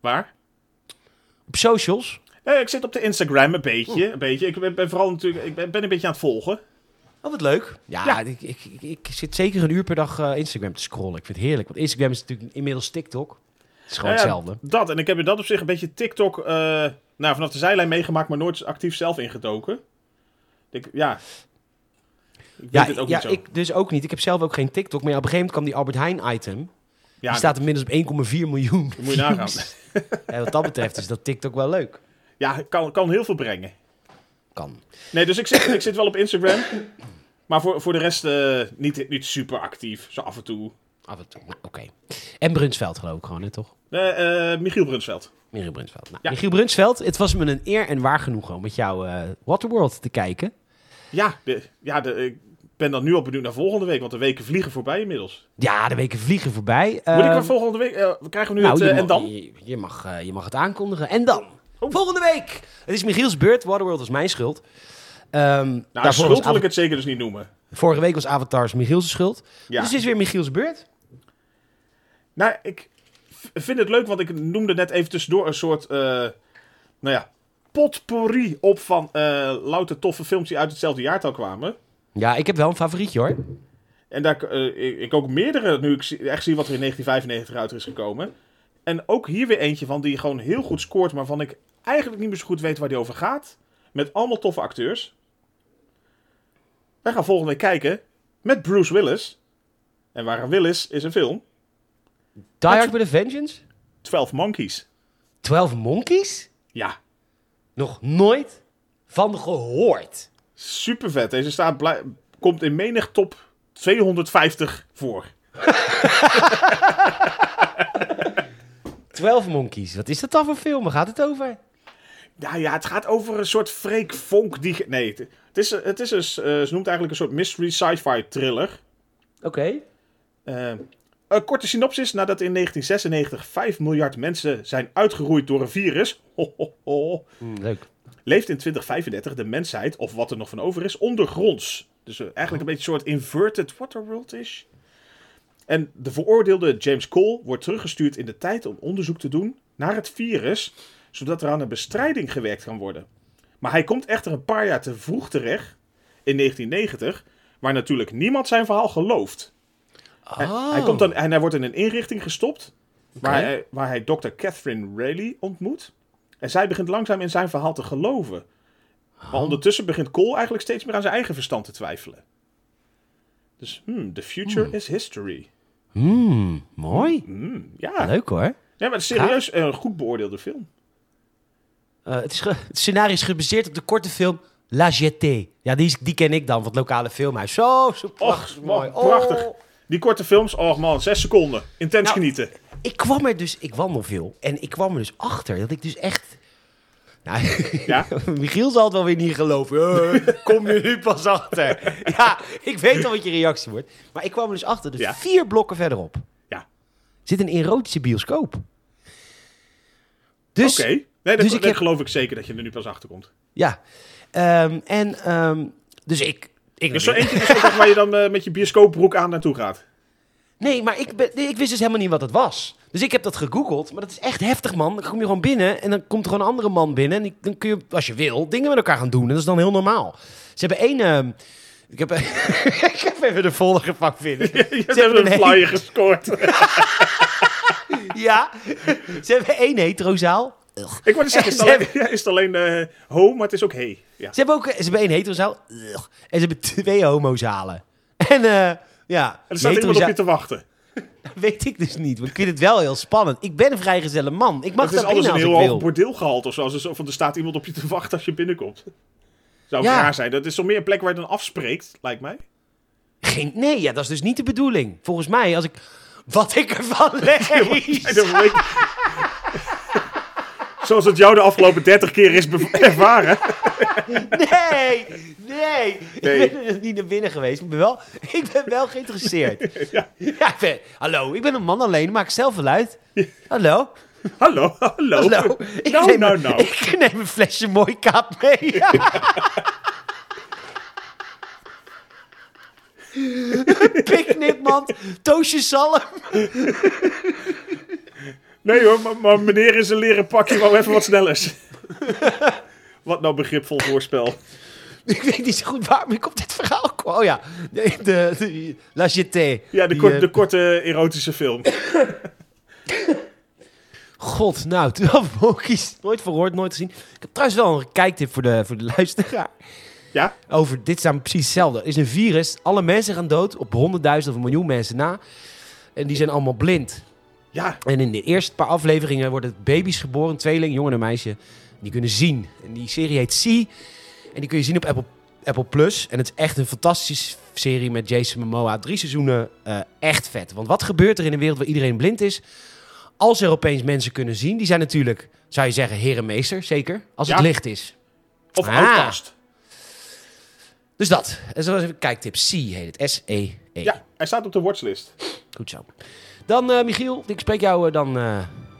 Speaker 2: Waar?
Speaker 1: op socials?
Speaker 2: Nee, Eh, ik zit op de Instagram een beetje. Een beetje. Ik ben, ben vooral natuurlijk, ik ben, ben een beetje aan het volgen.
Speaker 1: Oh, wat leuk. Ja,
Speaker 2: Ja.
Speaker 1: Ik, ik, ik, ik zit zeker een uur per dag eh, Instagram te scrollen. Ik vind het heerlijk. Want Instagram is natuurlijk inmiddels TikTok. Het is gewoon
Speaker 2: Nou ja,
Speaker 1: hetzelfde.
Speaker 2: Dat, en ik heb in dat op zich een beetje TikTok eh, nou, vanaf de zijlijn meegemaakt, maar nooit actief zelf ingedoken. Ik, ja. Ik
Speaker 1: Ja,
Speaker 2: weet het ook
Speaker 1: ja
Speaker 2: niet zo.
Speaker 1: ik dus ook niet. Ik heb zelf ook geen TikTok. Maar ja, op een gegeven moment kwam die Albert Heijn item.
Speaker 2: ja,
Speaker 1: die staat inmiddels op 1,4 miljoen.
Speaker 2: dat moet je nagaan.
Speaker 1: En wat dat betreft is dat TikTok wel leuk.
Speaker 2: Ja, het kan, kan heel veel brengen.
Speaker 1: Kan.
Speaker 2: Nee, dus ik zit, ik zit wel op Instagram. Maar voor, voor de rest eh, niet, niet super actief. Zo af en toe.
Speaker 1: Af en toe. Nou, Oké. En Brunsveld geloof ik gewoon, hè, toch?
Speaker 2: Eh, eh, Michiel Brunsveld.
Speaker 1: Michiel Brunsveld. Nou,
Speaker 2: Ja.
Speaker 1: Michiel Brunsveld, het was me een eer en waar genoegen om met jou eh, Waterworld te kijken.
Speaker 2: Ja, de, ja de, ik ben dan nu al benieuwd naar volgende week, want de weken vliegen voorbij inmiddels.
Speaker 1: Ja, de weken vliegen voorbij.
Speaker 2: Moet ik
Speaker 1: Ehm,
Speaker 2: weer volgende week... eh, we krijgen we nu
Speaker 1: Nou, je
Speaker 2: het... eh,
Speaker 1: mag,
Speaker 2: en dan? Oh.
Speaker 1: Je, je mag, eh, je mag het aankondigen. En dan? Volgende week! Het is Michiels beurt. Waterworld was mijn schuld. Ehm,
Speaker 2: Nou,
Speaker 1: daarvoor was
Speaker 2: schuld wil ik
Speaker 1: Ava-
Speaker 2: het zeker dus niet noemen.
Speaker 1: Vorige week was Avatars Michiels schuld.
Speaker 2: Ja.
Speaker 1: Dus het is weer Michiels beurt.
Speaker 2: Nou, ik v- vind het leuk, want ik noemde net even tussendoor een soort... eh, nou ja, potpourri op van eh louter toffe films die uit hetzelfde jaartal kwamen.
Speaker 1: Ja, ik heb wel een favorietje hoor.
Speaker 2: En daar eh, ik, ik ook meerdere, nu ik zie- echt zie wat er in 1995 uit is gekomen. En ook hier weer eentje van die gewoon heel goed scoort, maar van ik eigenlijk niet meer zo goed weet waar die over gaat. Met allemaal toffe acteurs. Wij gaan volgende week kijken met Bruce Willis. En waar Willis is een film,
Speaker 1: Die Hard with a Vengeance.
Speaker 2: 12 Monkeys.
Speaker 1: 12 Monkeys?
Speaker 2: Ja,
Speaker 1: Nog nooit van gehoord.
Speaker 2: super vet. Deze staat blij- komt in menig top 250 voor.
Speaker 1: 12 Monkeys. Wat is dat dan voor film? Waar gaat het over?
Speaker 2: Ja, ja, het gaat over een soort freak vonk die... ge- Nee, het, het is, het is een, s- eh, ze noemt eigenlijk een soort mystery sci-fi thriller.
Speaker 1: Oké.
Speaker 2: Eh, een korte synopsis. Nadat in 1996 5 miljard mensen zijn uitgeroeid door een virus... Ho, ho, ho,
Speaker 1: Hm, leuk.
Speaker 2: leeft in 2035 de mensheid, of wat er nog van over is, ondergronds. Dus eh, eigenlijk een beetje een soort inverted Waterworld-ish. En de veroordeelde James Cole wordt teruggestuurd in de tijd om onderzoek te doen naar het virus, zodat er aan een bestrijding gewerkt kan worden. Maar hij komt echter een paar jaar te vroeg terecht, in 1990, waar natuurlijk niemand zijn verhaal gelooft. Hij- Hij, komt dan, en hij wordt in een inrichting gestopt, waar,
Speaker 1: Oké.
Speaker 2: hij, waar hij dokter Catherine Rayleigh ontmoet. En zij begint langzaam in zijn verhaal te geloven. Maar ondertussen begint Cole eigenlijk steeds meer aan zijn eigen verstand te twijfelen. Dus, hmm, the future is history.
Speaker 1: Hmm, mooi.
Speaker 2: Hmm, ja.
Speaker 1: Leuk hoor.
Speaker 2: ja, maar het is serieus een goed beoordeelde film.
Speaker 1: Eh, het, is ge- het scenario is gebaseerd op de korte film La Jetée. Ja, die, is- die ken ik dan van het lokale filmhuis. Zo, zo prachtig.
Speaker 2: Och,
Speaker 1: mooi.
Speaker 2: man, prachtig.
Speaker 1: Oh.
Speaker 2: Die korte films, oh man, zes seconden. Intens
Speaker 1: Nou,
Speaker 2: genieten.
Speaker 1: Ik kwam er dus, ik wandel veel. En ik kwam er dus achter dat ik dus echt. Nou,
Speaker 2: Ja?
Speaker 1: Michiel zal het wel weer niet geloven. Eh, kom je nu pas achter? Ja, ik weet al wat je reactie wordt. Maar ik kwam er dus achter, dus
Speaker 2: Ja.
Speaker 1: vier blokken verderop
Speaker 2: Ja,
Speaker 1: zit een erotische bioscoop. Dus,
Speaker 2: oké. Nee, dat,
Speaker 1: dus ik
Speaker 2: dat
Speaker 1: heb-
Speaker 2: geloof ik zeker dat je er nu pas achter komt.
Speaker 1: ja. Ehm, en, ehm, dus ik... ik
Speaker 2: Dus zo eentje is ook echt waar je dan eh, met je bioscoopbroek aan naartoe gaat.
Speaker 1: Nee, maar ik, ben- nee, ik wist dus helemaal niet wat het was. Dus ik heb dat gegoogeld, maar dat is echt heftig, man. Dan kom je gewoon binnen en dan komt er gewoon een andere man binnen. En die- dan kun je, als je wil, dingen met elkaar gaan doen. En dat is dan heel normaal. Ze hebben één... ehm, ik, heb, ik heb even de folder gepakt binnen.
Speaker 2: Je hebt even een
Speaker 1: hele-
Speaker 2: flyer gescoord.
Speaker 1: Ja, ze hebben één heterozaal. Ugh.
Speaker 2: ik wou net zeggen, is het
Speaker 1: Ze
Speaker 2: alleen, ja, is het alleen eh, ho, maar het is ook he. Ja.
Speaker 1: Ze hebben ook ze hebben één heterozaal. Ugh. En ze hebben twee homozalen. En eh ja,
Speaker 2: En er staat iemand op je
Speaker 1: heterozaal-
Speaker 2: te wachten.
Speaker 1: weet ik dus niet. Want ik vind het wel heel spannend. Ik ben een vrijgezelle man. Ik mag
Speaker 2: Het is
Speaker 1: daar
Speaker 2: alles
Speaker 1: binnen
Speaker 2: een
Speaker 1: als
Speaker 2: heel
Speaker 1: ik
Speaker 2: hoog
Speaker 1: wil.
Speaker 2: bordeelgehalte of zo. Als er zo van, er staat iemand op je te wachten als je binnenkomt. Zou
Speaker 1: Ja.
Speaker 2: raar zijn. Dat is zo meer een plek waar je dan afspreekt, lijkt mij.
Speaker 1: Geen, nee, ja, dat is dus niet de bedoeling. Volgens mij, als ik... Wat ik ervan lees.
Speaker 2: En dan weet je- Zoals het jou de afgelopen 30 keer is bev- ervaren.
Speaker 1: Nee, nee.
Speaker 2: Nee.
Speaker 1: Ik ben er niet naar binnen geweest. maar Ik ben wel, ik ben wel geïnteresseerd.
Speaker 2: Ja.
Speaker 1: ik ben- hallo, ik ben een man alleen. Maak zelf wel uit. Hallo.
Speaker 2: Hallo, hallo.
Speaker 1: Hallo. Ik
Speaker 2: Oh. Nou,
Speaker 1: neem
Speaker 2: nou,
Speaker 1: een-
Speaker 2: nou.
Speaker 1: Ik neem een flesje mooi kaap mee. Picknickmand, toosje zalm.
Speaker 2: Nee hoor, maar, maar meneer is een leren pakje wou even wat sneller is. wat nou begripvol voorspel.
Speaker 1: Ik weet niet zo goed waarom ik op dit verhaal kwam. Oh ja, de, de, de- La Jetée.
Speaker 2: Ja, de,
Speaker 1: Die,
Speaker 2: kort-
Speaker 1: eh,
Speaker 2: de korte erotische film.
Speaker 1: God, nou, toen had ik Mokies nooit verhoord, nooit gezien. Ik heb trouwens wel een kijktip voor de, voor de luisteraar.
Speaker 2: Ja?
Speaker 1: Over, dit is namelijk precies hetzelfde. Er is een virus, alle mensen gaan dood, op honderdduizend of een miljoen mensen na. En die zijn allemaal blind.
Speaker 2: Ja.
Speaker 1: En in de eerste paar afleveringen worden baby's geboren, tweeling, jongen en meisje. Die kunnen zien. En die serie heet See. En die kun je zien op Apple, Apple Plus. En het is echt een fantastische serie met Jason Momoa. Drie seizoenen, eh, echt vet. Want wat gebeurt er in een wereld waar iedereen blind is? Als er opeens mensen kunnen zien, die zijn natuurlijk, zou je zeggen, heer en meester, zeker. Als het
Speaker 2: Ja.
Speaker 1: licht is.
Speaker 2: Of
Speaker 1: Ah.
Speaker 2: Outcast.
Speaker 1: Dus dat. En zoals een kijktip. See heet het. S-E-E.
Speaker 2: Ja, hij staat op de watchlist.
Speaker 1: Goed zo. Dan eh, Michiel, ik spreek jou eh, dan eh,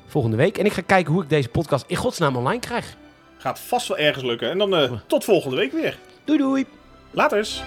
Speaker 1: volgende week. En ik ga kijken hoe ik deze podcast in godsnaam online krijg.
Speaker 2: Gaat vast wel ergens lukken. En dan eh, tot volgende week weer.
Speaker 1: Doei doei!
Speaker 2: Laters.